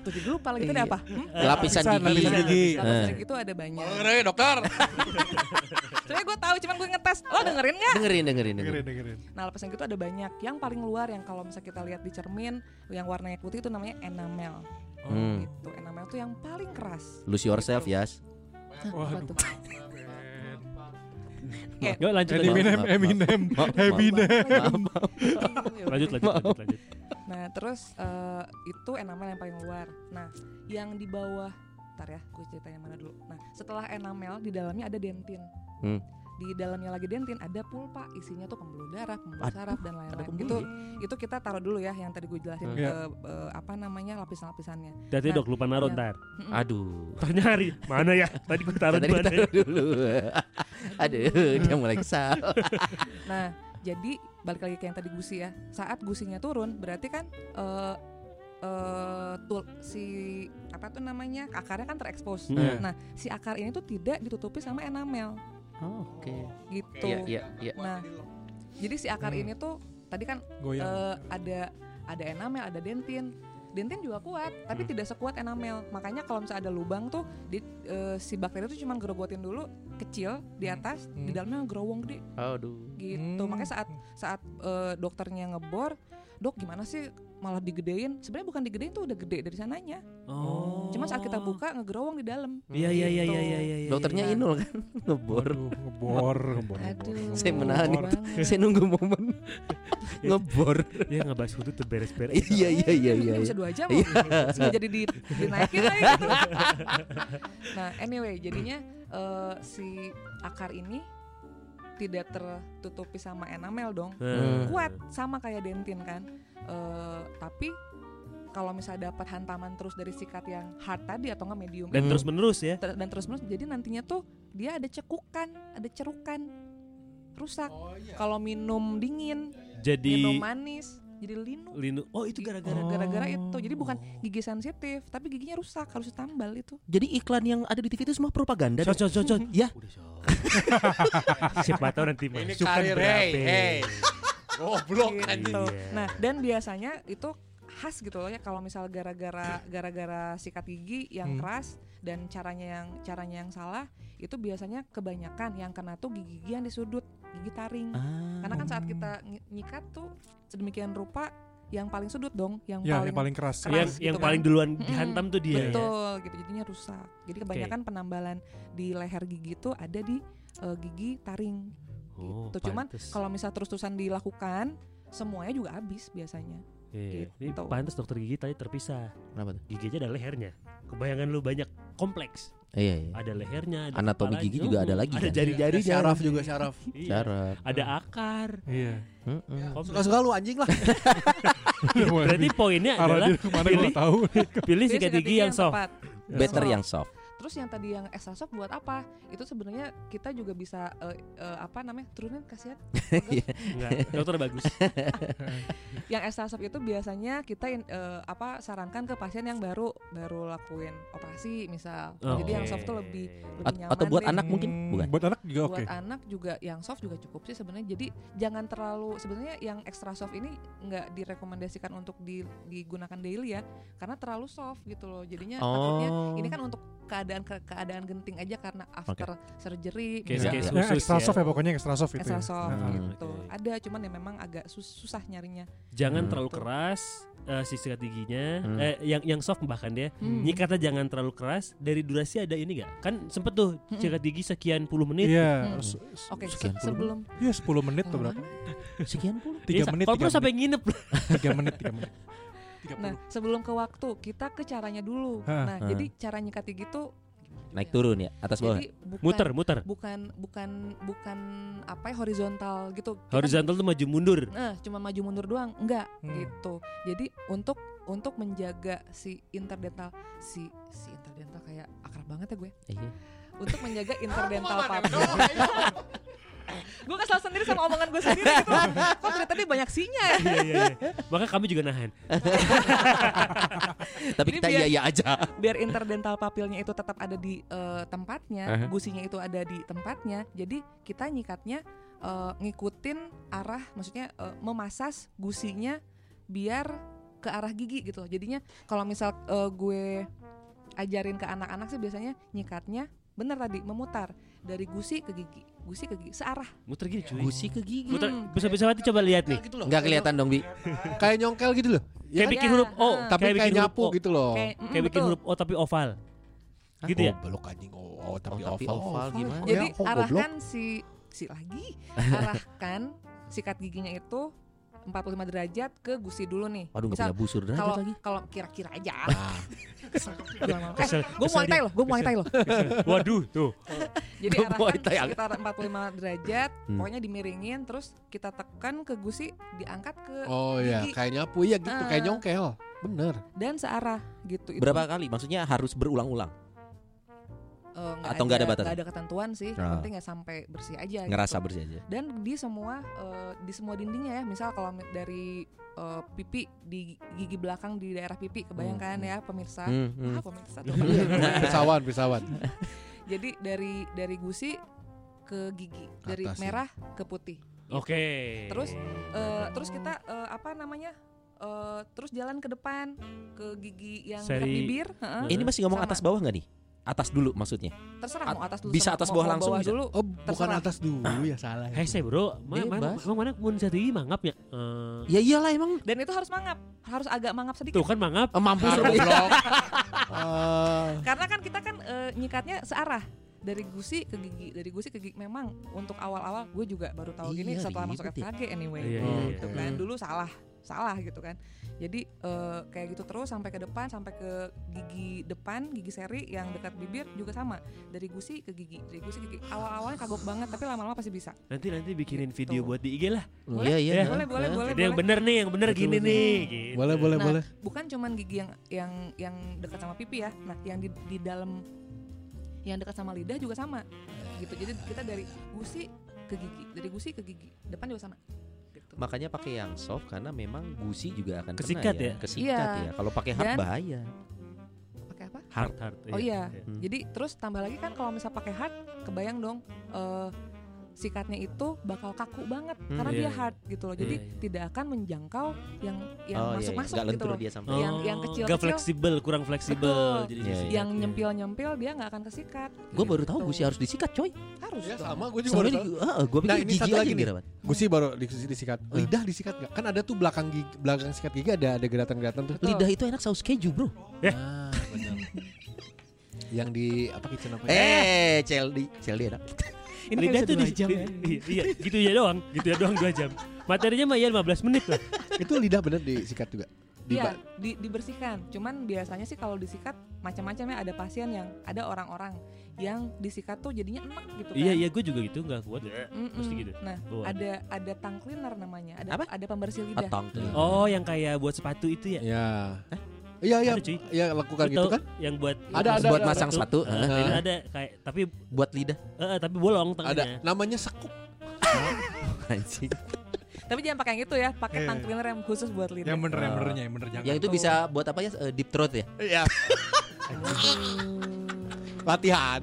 S6: Tuh jadi lupa lagi
S2: Iya.
S6: tadi apa? Hmm?
S2: Lapisan
S5: Lapisan,
S2: gigi.
S5: lapisan gigi.
S6: Lapisan gigi itu ada banyak.
S4: Dengerin dokter.
S6: Soalnya gue tahu, cuman gue ngetes. Lo dengerin nggak?
S2: Dengerin, dengerin, dengerin.
S5: dengerin, dengerin.
S6: Nah, lapisan gitu ada banyak. Yang paling luar yang kalau misalnya kita lihat di cermin yang warnanya putih itu namanya enamel.
S2: Hmm.
S6: Gitu. Enamel itu yang paling keras.
S2: Lose yourself, Yas.
S6: Hah, apa
S5: Waduh.
S6: tuh?
S3: Yuk lanjut lanjut.
S5: Eminem,
S2: Maaf, maaf,
S5: Eminem,
S2: maaf, maaf.
S5: Eminem.
S6: Iya,
S3: lanjut lanjut lanjut lanjut.
S6: Nah, terus eh, itu enamel yang paling luar. Nah, yang di bawah Ntar ya, gue cerita yang mana dulu. Nah, setelah enamel di dalamnya ada dentin.
S2: Hmm.
S6: Di dalamnya lagi dentin ada pulpa, isinya tuh pembuluh darah, pembuluh saraf dan lain-lain. Itu itu kita taruh dulu ya yang tadi gue jelasin
S5: Iya.
S6: ke eh, apa namanya lapisan-lapisannya.
S3: Tadi
S6: Nah,
S3: dok lupa naruh
S6: iya.
S3: ntar.
S6: Mm-mm.
S2: Aduh.
S3: Ntar nyari mana ya? Tadi gua taruh di
S2: Tadi kita
S3: mana?
S2: taruh dulu. Aduh, dia mulai kesal.
S6: Nah, jadi balik lagi ke yang tadi gusi ya. Saat gusinya turun, berarti kan eh eh, tul si apa tuh namanya akarnya kan terekspos.
S3: Iya.
S6: Nah, si akar ini tuh tidak ditutupi sama enamel
S2: Oh, Oke.
S6: gitu.
S2: Iya, iya, Hmm. iya.
S6: Nah, jadi si akar ini tuh tadi kan
S3: Iya,
S5: Goyang.
S6: eh, ada ada enamel, ada dentin. Dentin juga kuat, tapi
S3: Hmm.
S6: tidak sekuat enamel. Makanya kalau misalnya ada lubang tuh di, eh, si bakteri tuh cuma gerogotin dulu kecil di
S3: Hmm.
S6: atas, di dalamnya gerowong gede
S2: Aduh.
S6: gitu.
S5: Hmm.
S6: Makanya saat saat eh, dokternya ngebor, dok gimana sih malah digedein? Sebenarnya bukan digedein tuh udah gede dari sananya.
S3: Oh.
S6: Cuma saat kita buka ngegerowong di dalam.
S3: Iya iya iya
S6: Gitu.
S3: iya iya. iya,
S2: Dokternya
S3: iya.
S2: Inul kan ngebor.
S5: Aduh, ngebor, ngebor.
S6: Aduh.
S2: Saya menahan
S6: ngebor
S2: itu.
S6: banget.
S2: Saya nunggu momen ngebor.
S3: Ya nggak bahas itu beres-beres.
S2: Iya iya iya
S6: Ini
S2: iya.
S6: bisa Eh, dua jam loh. Nggak jadi di, dinaikin lagi gitu. Nah anyway jadinya eh, si akar ini tidak tertutupi sama enamel dong.
S2: Hmm.
S3: Nah.
S6: kuat sama kayak dentin kan Eh, tapi kalau misalnya dapat hantaman terus dari sikat yang hard tadi atau nggak medium
S3: Dan
S2: Hmm.
S3: terus menerus ya.
S6: ter- dan terus menerus jadi nantinya tuh dia ada cekukan ada cerukan rusak kalau minum dingin minum
S3: Jadi
S6: manis jadi linu
S3: Linu. Oh itu gara-gara.
S6: gara-gara itu jadi bukan gigi sensitif tapi giginya rusak harus ditambal itu
S2: Jadi iklan yang ada di TV itu semua propaganda.
S3: Cot cot cot cot.
S2: Ya.
S3: Siapa tahu nanti
S4: Ini
S3: masuk kan
S4: karir, hey,
S3: berapa.
S4: hey. Goblok anjing.
S6: gitu.
S3: Iya.
S6: Nah, dan biasanya itu khas gitu loh ya kalau misal gara-gara gara-gara sikat gigi yang keras dan caranya yang caranya yang salah itu biasanya kebanyakan yang kena tuh gigi-gigi yang di sudut, gigi taring. Karena kan saat kita nyi- nyikat tuh sedemikian rupa yang paling sudut dong, yang
S5: Ya,
S6: paling
S5: yang paling keras.
S6: keras.
S3: Yang
S6: gitu
S3: yang
S6: kan.
S3: paling duluan
S2: Mm-hmm.
S6: Mm-mm.
S3: dihantam tuh dia. ya.
S6: betul gitu jadinya rusak. Jadi kebanyakan penambalan di leher gigi itu ada di eh, gigi taring
S3: Oh,
S6: gitu. Cuman
S3: pantes.
S6: kalau misal terus-terusan dilakukan semuanya juga habis biasanya.
S3: Iya. Ini
S6: Gitu.
S3: pantas dokter gigi tadi terpisah.
S2: Kenapa tuh?
S3: Giginya ada lehernya. Kebayangan lu banyak kompleks.
S2: Iya iya.
S3: Ada lehernya, ada
S2: Anatomi
S3: kepalanya.
S2: gigi juga ada lagi
S3: Ada
S2: kan?
S3: jari-jari
S4: Syaraf juga syaraf.
S2: Cara.
S3: Ada akar.
S5: Iya.
S2: Mm-mm.
S3: kompleks.
S4: Suka-suka lu anjing lah.
S5: Iya,
S3: Berarti poinnya
S5: arah
S3: adalah
S5: dia kemana gue
S3: pilih-
S5: tahu.
S3: pilih
S6: Jadi
S3: sikat
S6: sikat
S3: gigi yang soft.
S6: tepat.
S2: Better yang soft.
S6: Terus yang tadi yang extra soft buat apa? Itu sebenarnya kita juga bisa eh, eh, apa namanya? Turunin kasihan.
S3: Enggak, dokter bagus.
S6: yang extra soft itu biasanya kita in- eh, apa sarankan ke pasien yang baru baru lakuin operasi misal. Jadi yang soft tuh lebih lebih
S2: At-
S6: nyaman
S2: atau buat
S6: deh.
S2: anak mungkin bukan.
S5: Buat anak juga oke.
S6: Buat anak juga yang soft juga cukup sih sebenarnya. Jadi jangan terlalu sebenarnya yang extra soft ini nggak direkomendasikan untuk di- digunakan daily ya, karena terlalu soft gitu loh. Jadinya takutnya
S2: Oh.
S6: ini kan untuk keadaan ke- keadaan genting aja karena after surgery
S3: Case-
S5: Ya,
S6: misalnya.
S3: case
S5: ya,
S3: khusus
S5: extra
S3: ya.
S5: soft ya pokoknya extra soft itu.
S6: extra
S5: ya.
S6: soft
S5: Nah,
S2: Hmm.
S6: gitu.
S3: Oke.
S6: Ada cuman ya memang agak sus- susah nyarinya.
S3: Jangan
S2: Hmm.
S3: terlalu keras eh, si sikat giginya.
S2: Hmm.
S3: Eh, yang yang soft bahkan ya.
S6: Hmm.
S3: Nyikatnya jangan terlalu keras. Dari durasi ada ini gak? Kan sempet tuh
S6: Mm-mm.
S3: sikat gigi sekian puluh menit.
S5: Iya.
S6: Hmm.
S5: s- s-
S6: Oke,
S2: Sekian
S6: se-
S2: puluh
S6: sebelum
S5: Iya 10 menit tuh berapa?
S2: Sekian puluh.
S5: 3
S3: Iya,
S5: menit.
S3: Kalau perlu
S5: 3
S3: sampai nginep.
S5: menit, 3 menit, 3 menit.
S6: nah, sebelum ke waktu, kita ke caranya dulu.
S5: Hah.
S6: Nah,
S2: Hah.
S6: jadi cara nyikat gigi tuh
S2: Naik turun ya atas bawah.
S6: Jadi bukan
S3: Muter, muter.
S6: bukan bukan bukan apa ya horizontal gitu. Kita-
S3: Horizontal tuh maju mundur.
S6: Eh, cuma maju mundur doang, enggak
S5: Hmm.
S6: gitu. Jadi untuk untuk menjaga si interdental si si interdental kayak akrab banget ya gue
S2: Eh, iya.
S6: untuk menjaga interdental papil. gue kesel sendiri sama omongan gue sendiri gitu. Kok dari tadi banyak sinya ya?
S3: Iya, iya, iya. Maka kami juga nahan.
S2: Tapi
S6: Ini
S2: kita
S6: biar-
S2: iya iya aja.
S6: Biar interdental papilnya itu tetap ada di eh, tempatnya,
S2: Aha.
S6: gusinya itu ada di tempatnya. Jadi kita nyikatnya eh, ngikutin arah, maksudnya eh, memasas gusinya biar ke arah gigi gitu. Jadinya kalau misal eh, gue ajarin ke anak-anak sih biasanya nyikatnya bener tadi memutar dari gusi ke gigi, gusi ke gigi searah.
S3: Muter gini cuy.
S2: Gusi ke gigi.
S3: Muter bisa-bisa mati coba lihat nih.
S4: gitu loh.
S2: Enggak kelihatan dong, Bi.
S4: Kayak nyongkel gitu loh. Ya,
S3: Kayak
S6: Iya,
S3: bikin huruf O,
S6: ah.
S4: tapi kayak,
S3: bikin huruf
S4: nyapu
S3: O.
S4: gitu loh.
S6: Kayak, mm,
S3: Kayak bikin
S6: betul.
S3: huruf O tapi oval. Gitu ya.
S4: Oh, belok anjing. Oh, oh, tapi,
S2: Oh, tapi
S4: oval.
S2: oval gimana?
S4: Ya,
S6: Jadi
S4: oh, goblok.
S6: arahkan si si lagi arahkan sikat giginya itu 45 derajat ke gusi dulu nih.
S2: Waduh nggak
S6: Misal,
S2: punya busur Nah,
S6: kalau
S2: derajat lagi. Iya,
S6: kalau kira-kira aja.
S4: Ah.
S3: Kesel,
S6: eh, gue
S3: kesel
S6: muay thai loh, gue muay thai loh.
S3: Waduh, tuh.
S6: Jadi
S2: Gua Muay
S6: arahkan
S2: Thai.
S6: sekitar 45 derajat,
S2: Hmm.
S6: pokoknya dimiringin, terus kita tekan ke gusi, diangkat ke
S4: Oh iya,
S6: Gigi.
S4: kayak nyapu iya gitu, kayak
S6: Ah.
S4: nyongkel. Bener.
S6: dan searah gitu. Itu,
S2: Berapa kali? Maksudnya harus berulang-ulang.
S6: eh,
S2: atau nggak ada batasan?
S6: Nggak ada ketentuan sih, yang
S2: Ah.
S6: penting ya sampai bersih aja. gitu.
S2: Ngerasa bersih aja.
S6: dan di semua eh, di semua dindingnya ya misal kalau mi- dari eh, pipi di gigi belakang di daerah pipi kebayangkan ya pemirsa
S2: Hmm, hmm.
S6: ah pemirsa tuh
S4: Iya, pisawan, pisawan.
S6: jadi dari dari gusi ke gigi
S4: Ke
S6: dari
S4: atas ya.
S6: merah ke putih
S3: Oke.
S6: Terus, Eh, terus kita eh, apa namanya eh, terus jalan ke depan ke gigi yang dekat
S3: Seri-
S6: bibir heeh.
S2: Ini masih ngomong
S6: Sama.
S2: atas bawah nggak nih? Atas dulu maksudnya.
S6: terserah
S2: at-
S6: mau atas dulu
S2: bisa
S6: sama-
S2: atas
S6: mau-
S2: bawah
S6: mau
S2: langsung bisa?
S6: dulu
S4: Oh, bukan
S6: Terserah.
S4: atas dulu ya salah.
S3: Hei, saya bro, ma- ma-
S2: Bebas.
S3: emang mana mun sati mangap ya? Eh,
S2: Ya iyalah emang
S6: dan itu harus mangap harus agak mangap sedikit
S3: tuh kan mangap.
S2: eh, mampus
S4: Ah,
S2: lu.
S4: goblok. Ah.
S6: Karena kan kita kan eh, nyikatnya searah dari gusi ke gigi, dari gusi ke gigi. Memang untuk awal-awal gue juga baru tahu gini
S2: Iya,
S6: setelah masuk
S2: ribet ya.
S6: FKG anyway.
S3: Iya,
S4: iya,
S6: gitu
S4: iya.
S6: kan. Dulu salah, salah gitu kan. Jadi eh, kayak gitu terus sampai ke depan sampai ke gigi depan, gigi seri yang dekat bibir juga sama. Dari gusi ke gigi, dari gusi ke gigi. Awal-awalnya kagok banget tapi lama-lama pasti bisa.
S3: Nanti nanti bikinin
S6: Gitu.
S3: video buat di IG lah.
S2: Iya iya.
S3: Ya.
S6: Boleh, boleh, boleh,
S3: Jadi yang
S6: boleh.
S3: bener nih, yang bener
S4: Betul,
S3: gini
S4: betul.
S3: nih. gitu.
S4: Boleh, boleh,
S6: Nah,
S4: boleh.
S6: bukan cuman gigi yang yang yang dekat sama pipi ya. Nah, yang di di dalam yang dekat sama lidah juga sama. Gitu. Jadi kita dari gusi ke gigi, dari gusi ke gigi, depan juga sama. Gitu.
S2: Makanya pakai yang soft karena memang gusi juga akan kena
S3: Kesikat ya?
S2: Kesikat
S6: Iya.
S2: ya. Kalau pakai hard
S6: Dan- iya,
S2: bahaya. Oh,
S6: Pakai apa?
S3: Hard, hard.
S6: Oh iya.
S2: Hmm.
S6: Jadi terus tambah lagi kan kalau misal pakai hard, kebayang dong eh, sikatnya itu bakal kaku banget
S2: Hmm,
S6: karena
S3: iya,
S6: dia
S3: iya.
S6: hard gitu loh. Jadi
S3: Iya, iya.
S6: tidak akan menjangkau yang yang
S2: oh iya.
S6: masuk-masuk
S2: Enggak
S6: gitu
S2: lentur
S6: loh.
S2: dia sampai.
S6: Oh. Yang- yang
S3: Gak
S6: kecil-kecil.
S3: fleksibel, kurang fleksibel.
S6: Betul.
S3: Jadi
S2: Iya, iya.
S6: Yang nyempil-nyempil dia nggak akan kesikat.
S2: Gue baru tahu
S6: Gitu.
S2: gusi harus disikat Oh, coy.
S6: harus
S4: Ya
S6: dong.
S4: sama gue juga baru
S2: Soalnya
S4: tahu.
S2: gue pikir
S4: Nah, ini
S2: gigi
S4: satu
S2: aja
S4: lagi
S2: yang
S4: nih.
S2: dirawat.
S4: Gue sih baru di- disikat. Lidah disikat nggak? Kan ada tuh belakang gigi, belakang sikat gigi ada ada geratan-geratan tuh.
S6: Betul.
S2: Lidah itu enak saus keju bro.
S4: Ah, benar. Yang di apa kitchen apa? ya?
S2: Eh, Celdi, Celdi enak.
S6: Ini
S3: Lidah tuh di
S6: jam ya.
S3: Iya, iya, gitu ya doang, gitu ya doang dua jam. Materinya mah ya 15 menit lah.
S4: Itu lidah bener disikat juga. Di
S6: Iya, di, dibersihkan. Cuman biasanya sih kalau disikat macam-macam ya ada pasien yang ada orang-orang yang disikat tuh jadinya enak gitu kan.
S3: Iya, iya, gue juga gitu nggak kuat.
S6: Mm-mm.
S3: Mesti gitu.
S6: Nah,
S3: Oh, ada.
S6: ada ada tang cleaner namanya. Ada
S2: Apa?
S6: ada pembersih lidah.
S2: Atang tuh.
S3: Oh, yang kayak buat sepatu itu ya?
S4: Ya. Iya iya
S3: Ada, cuy.
S4: iya lakukan
S3: Lu
S4: gitu
S3: tahu
S4: kan?
S3: Yang buat
S4: Ada, ada,
S2: buat
S4: ada,
S2: masang
S3: ada.
S2: sepatu,
S3: Eh,
S2: eh,
S3: ini ada kayak tapi
S2: buat lidah.
S3: eh, eh, tapi bolong
S4: Ada
S3: tengahnya.
S4: namanya sekup.
S2: Anjing.
S6: Tapi jangan pakai yang itu ya, pakai tang
S5: Iya.
S6: cleaner yang khusus buat lidah.
S5: Yang bener yang benernya yang bener jangan.
S2: Yang itu bisa buat apa ya? eh, Deep throat ya.
S4: Iya. latihan.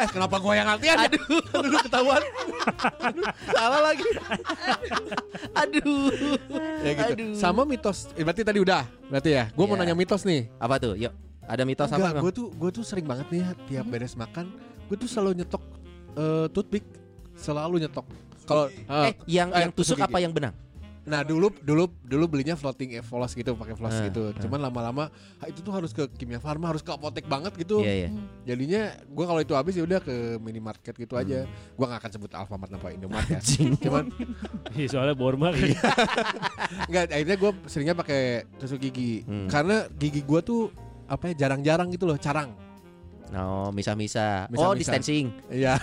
S4: eh kenapa gua yang latihan? ya? Aduh ketahuan. Aduh, salah lagi.
S2: Aduh.
S4: Ya gitu. Sama mitos. Eh, berarti tadi udah. Berarti ya. Gua mau
S2: Iya.
S4: nanya mitos nih.
S2: Apa tuh? Yuk. Ada mitos apa?
S4: Enggak,
S2: Bang? Hmm.
S4: gue tuh gue tuh sering banget nih ya, tiap beres makan, gue tuh selalu nyetok eh, toothpick, selalu nyetok. Kalau eh,
S2: Eh, yang
S4: eh,
S2: yang tusuk
S4: tusuk
S2: apa yang benang?
S4: nah dulu dulu dulu belinya floating eh, floss gitu, pakai floss
S2: Eh,
S4: gitu.
S2: eh.
S4: Cuman lama-lama ah, itu tuh harus ke kimia farma, harus ke apotek banget gitu.
S2: Iya, iya.
S4: Jadinya gue kalau itu habis ya udah ke minimarket gitu aja. Gue nggak akan sebut Alfamart apa Indomart
S2: Hmm.
S4: ya.
S2: Anjing.
S4: Cuman
S3: Iya, soalnya bormal.
S4: Enggak, akhirnya gue seringnya pakai tusuk gigi
S2: Hmm.
S4: karena gigi gue tuh apa ya jarang-jarang gitu loh, carang.
S2: No, misah-misah.
S4: Misah-misah.
S2: Oh, distancing.
S4: Iya.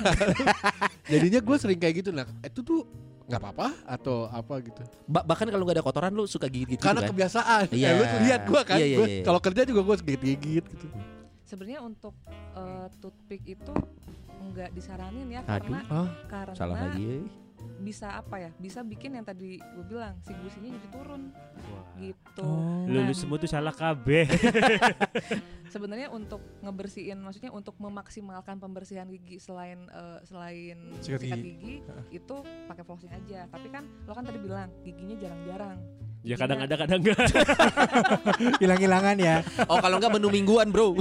S4: Jadinya gue sering kayak gitu nah itu tuh nggak apa-apa atau apa gitu
S2: Ba- bahkan kalau nggak ada kotoran lu suka gigit-gigit
S4: karena
S2: gitu kan?
S4: kebiasaan
S2: Iya.
S4: ya lu lihat gua kan
S2: Iya, iya,
S4: Gua
S2: iya.
S4: kalau kerja juga gua gigit gigit gitu
S6: Sebenarnya untuk eh, toothpick itu nggak disaranin ya
S2: Aduh.
S6: karena
S4: Hah?
S6: karena
S2: Salah lagi. eh.
S6: bisa apa ya? Bisa bikin yang tadi gue bilang si gusinya jadi turun gitu.
S5: Oh.
S3: Lu, lu
S6: Nah,
S3: semua tuh salah kabeh.
S6: sebenarnya untuk ngebersihin maksudnya untuk memaksimalkan pembersihan gigi selain eh, selain
S5: Sikat
S6: sikat,
S5: gigi.
S6: gigi itu pakai flossing aja tapi kan lo kan tadi bilang giginya jarang-jarang
S3: ya kadang ada kadang enggak.
S5: Hilang-hilangan ya.
S2: Oh kalau nggak menu mingguan bro.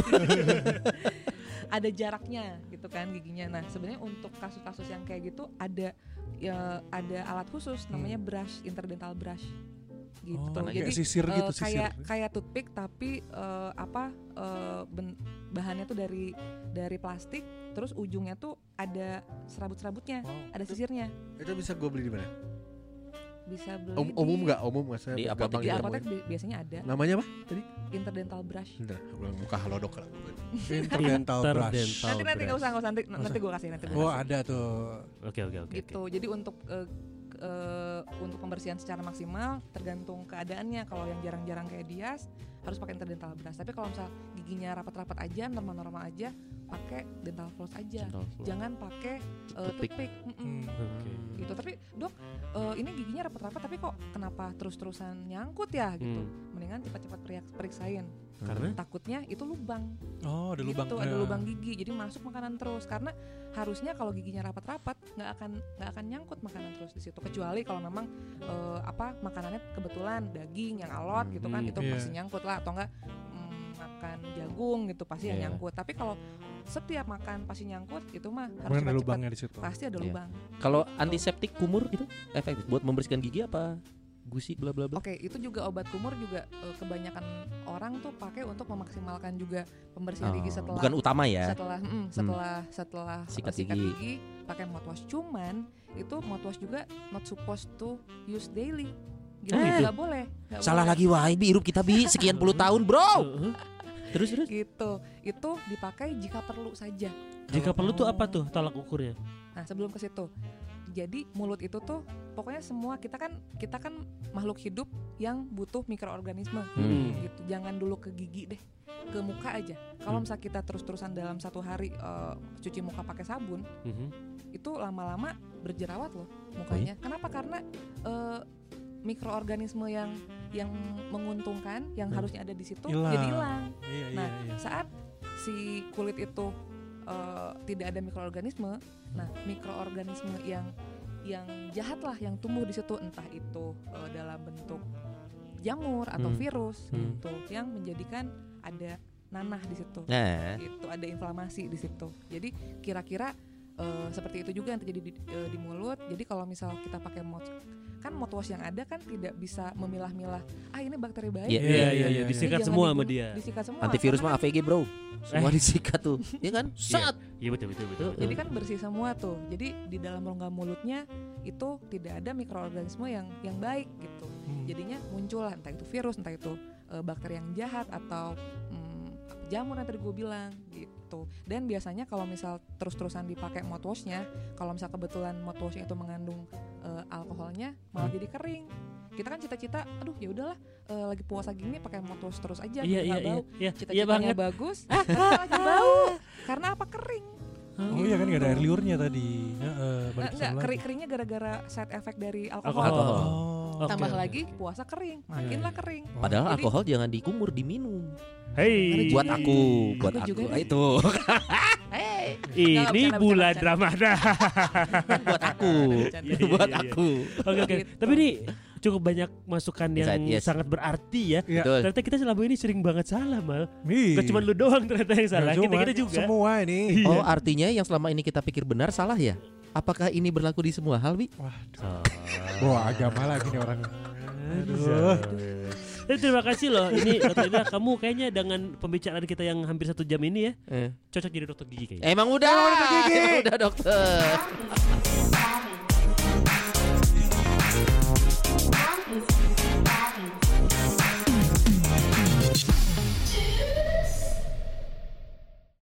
S6: ada jaraknya gitu kan giginya nah sebenarnya untuk kasus-kasus yang kayak gitu ada ya ada alat khusus namanya brush interdental brush gitu
S5: Hmm. Oh, kayak
S6: jadi
S5: sisir
S6: eh,
S5: gitu, sisir.
S6: kayak kayak toothpick tapi eh, apa eh, ben- bahannya tuh dari dari plastik terus ujungnya tuh ada serabut-serabutnya ada sisirnya
S4: itu bisa gua beli di mana
S6: bisa beli
S4: Om-
S6: di-
S4: umum nggak umum nggak saya
S2: Di apotek,
S4: gampang
S6: di
S4: ditemuin.
S6: apotek bi- biasanya ada
S4: namanya apa tadi
S6: interdental brush
S4: Bentar, gua buka halodoc lah
S5: Interdental Oh, brush.
S3: Interdental.
S6: nanti nanti nggak usah nggak usah nanti
S5: Nggak
S6: nanti gue kasih nanti gua
S5: Oh
S6: kasih.
S5: ada tuh.
S3: Oke oke oke.
S6: gitu jadi untuk eh, k- eh, untuk pembersihan secara maksimal tergantung keadaannya kalau yang jarang-jarang kayak Dias harus pakai interdental brush tapi kalau misal giginya rapat-rapat aja normal-normal aja pakai dental floss aja jangan pakai eh,
S2: Toothpick.
S6: toothpick mm-mm.
S5: Hmm.
S3: Oke.
S6: gitu tapi dok eh, ini giginya rapat-rapat tapi kok kenapa terus-terusan nyangkut ya gitu mendingan cepat-cepat periak- periksain
S3: Karena
S6: takutnya itu lubang
S5: Oh ada
S6: gitu,
S5: lubang.
S6: ada
S5: Ya.
S6: lubang gigi jadi masuk makanan terus karena harusnya kalau giginya rapat-rapat nggak akan nggak akan nyangkut makanan terus di situ kecuali kalau memang eh, apa makanannya kebetulan daging yang alot gitu kan
S3: Hmm,
S6: itu
S5: iya.
S6: pasti nyangkut lah atau enggak makan jagung gitu pasti yang
S2: Iya.
S6: nyangkut tapi kalau setiap makan pasti nyangkut itu mah harus
S5: Kemudian ada
S6: cepat-cepat.
S5: lubangnya di situ.
S6: pasti ada
S2: Iya.
S6: lubang
S2: Kalau antiseptik kumur gitu efektif buat membersihkan gigi apa gusi bla bla bla.
S6: Oke, itu juga obat kumur juga eh, kebanyakan orang tuh pakai untuk memaksimalkan juga pembersihan gigi
S2: Oh,
S6: setelah
S2: bukan utama ya.
S6: setelah mm, setelah setelah
S2: Sikat
S6: sikat,
S2: gigi.
S6: gigi, pakai mouthwash cuman itu mouthwash juga not supposed to use daily gitu
S2: Ah, gitu.
S6: nggak boleh nggak
S2: Salah
S6: boleh.
S2: lagi wah Bi, hirup kita bi sekian puluh tahun bro.
S3: Heeh.
S2: Terus terus.
S6: gitu itu dipakai jika perlu saja
S3: jika perlu tuh apa tuh tolak ukurnya?
S6: nah sebelum ke situ jadi mulut itu tuh pokoknya semua kita kan kita kan makhluk hidup yang butuh mikroorganisme
S2: Hmm.
S6: gitu jangan dulu ke gigi deh ke muka aja kalau misalnya kita terus-terusan dalam satu hari eh, cuci muka pakai sabun
S3: Mhm.
S6: itu lama-lama berjerawat loh mukanya. Kenapa? Karena eh, mikroorganisme yang yang menguntungkan yang harusnya ada di situ
S5: Hilang.
S6: jadi hilang.
S5: Iya iya
S6: Nah,
S5: iya.
S6: saat si kulit itu eh, tidak ada mikroorganisme, nah mikroorganisme yang yang jahat lah yang tumbuh di situ entah itu eh, dalam bentuk jamur atau
S3: Hmm.
S6: virus
S3: Hmm.
S6: gitu yang menjadikan ada nanah di situ
S3: Eh.
S2: Nah,
S6: itu ada inflamasi di situ. Jadi kira-kira eh, seperti itu juga yang terjadi di, eh, di mulut. Jadi kalau misal kita pakai mouth kan mouthwash yang ada kan tidak bisa memilah-milah. Ah ini bakteri baik.
S2: Iya,
S6: Iya,
S3: Iya iya
S5: iya,
S3: iya
S5: iya.
S3: disikat semua sama dia.
S6: Disikat semua.
S2: antivirus
S6: Karena
S2: mah AVG bro. Semua disikat tuh. Eh. Iya kan? Saat.
S3: Iya betul betul betul.
S6: Jadi kan bersih semua tuh. Jadi di dalam rongga mulutnya itu tidak ada mikroorganisme yang yang baik gitu.
S5: Hmm.
S6: Jadinya muncul lah, entah itu virus, entah itu eh, bakteri yang jahat atau mm, jamur yang tadi gue bilang gitu. Dan biasanya kalau misal terus-terusan dipakai mouthwashnya, kalau misal kebetulan mouthwashnya itu mengandung eh, alkoholnya,
S3: Hmm.
S6: malah jadi kering. Kita kan cita-cita, aduh ya udahlah eh, lagi puasa gini pakai mouthwash terus aja,
S3: Iya
S6: biar
S3: iya
S6: nggak
S3: iya.
S6: bau.
S3: Iya iya
S6: Cita-citanya
S3: banget.
S6: bagus, ah, lagi bau. Karena apa kering?
S5: Oh iya kan gak ada air liurnya tadi. Heeh, balik
S6: Eh, enggak,
S5: kesana
S6: kering
S5: lagi.
S6: keringnya gara-gara side effect dari alkohol.
S3: Alkohol.
S5: Oh.
S3: Oke,
S6: Tambah
S3: oke,
S6: lagi
S3: oke. Iya,
S6: puasa kering, makinlah kering.
S2: Padahal
S6: Jadi- Iya.
S2: alkohol jangan dikumur, diminum.
S3: Hei.
S2: Buat aku, buat
S6: Aku
S2: aku.
S6: juga ya.
S2: Ah,
S6: deh.
S2: Itu
S6: Hey, Nggak,
S3: Ini
S6: bercanda,
S3: bulan
S6: bercanda,
S3: Ramadan.
S2: kan buat aku.
S6: Nah, Bercanda,
S3: bercanda.
S2: Buat
S3: Iya, iya, iya.
S2: aku.
S3: Oke oke.
S6: Gitu.
S3: Tapi ini cukup banyak masukan yang
S2: Insight, yes.
S3: sangat berarti ya.
S5: Iya.
S2: Betul.
S3: Ternyata kita selama ini sering banget salah mal.
S5: Ih.
S3: Gak cuma lu doang ternyata yang salah.
S5: Nggak
S3: Kita
S5: cuma,
S3: kita juga.
S5: Semua ini.
S2: Oh, artinya yang selama ini kita pikir benar salah ya? Apakah ini berlaku di semua hal, Bi?
S5: Wah agama lagi nih orang.
S3: Aduh. Tapi Eh, terima kasih loh. Ini Dr. Ina, kamu kayaknya dengan pembicaraan kita yang hampir satu jam ini ya
S2: Eh.
S3: cocok jadi dokter gigi kayaknya.
S2: Emang udah, udah dokter.
S7: Bye.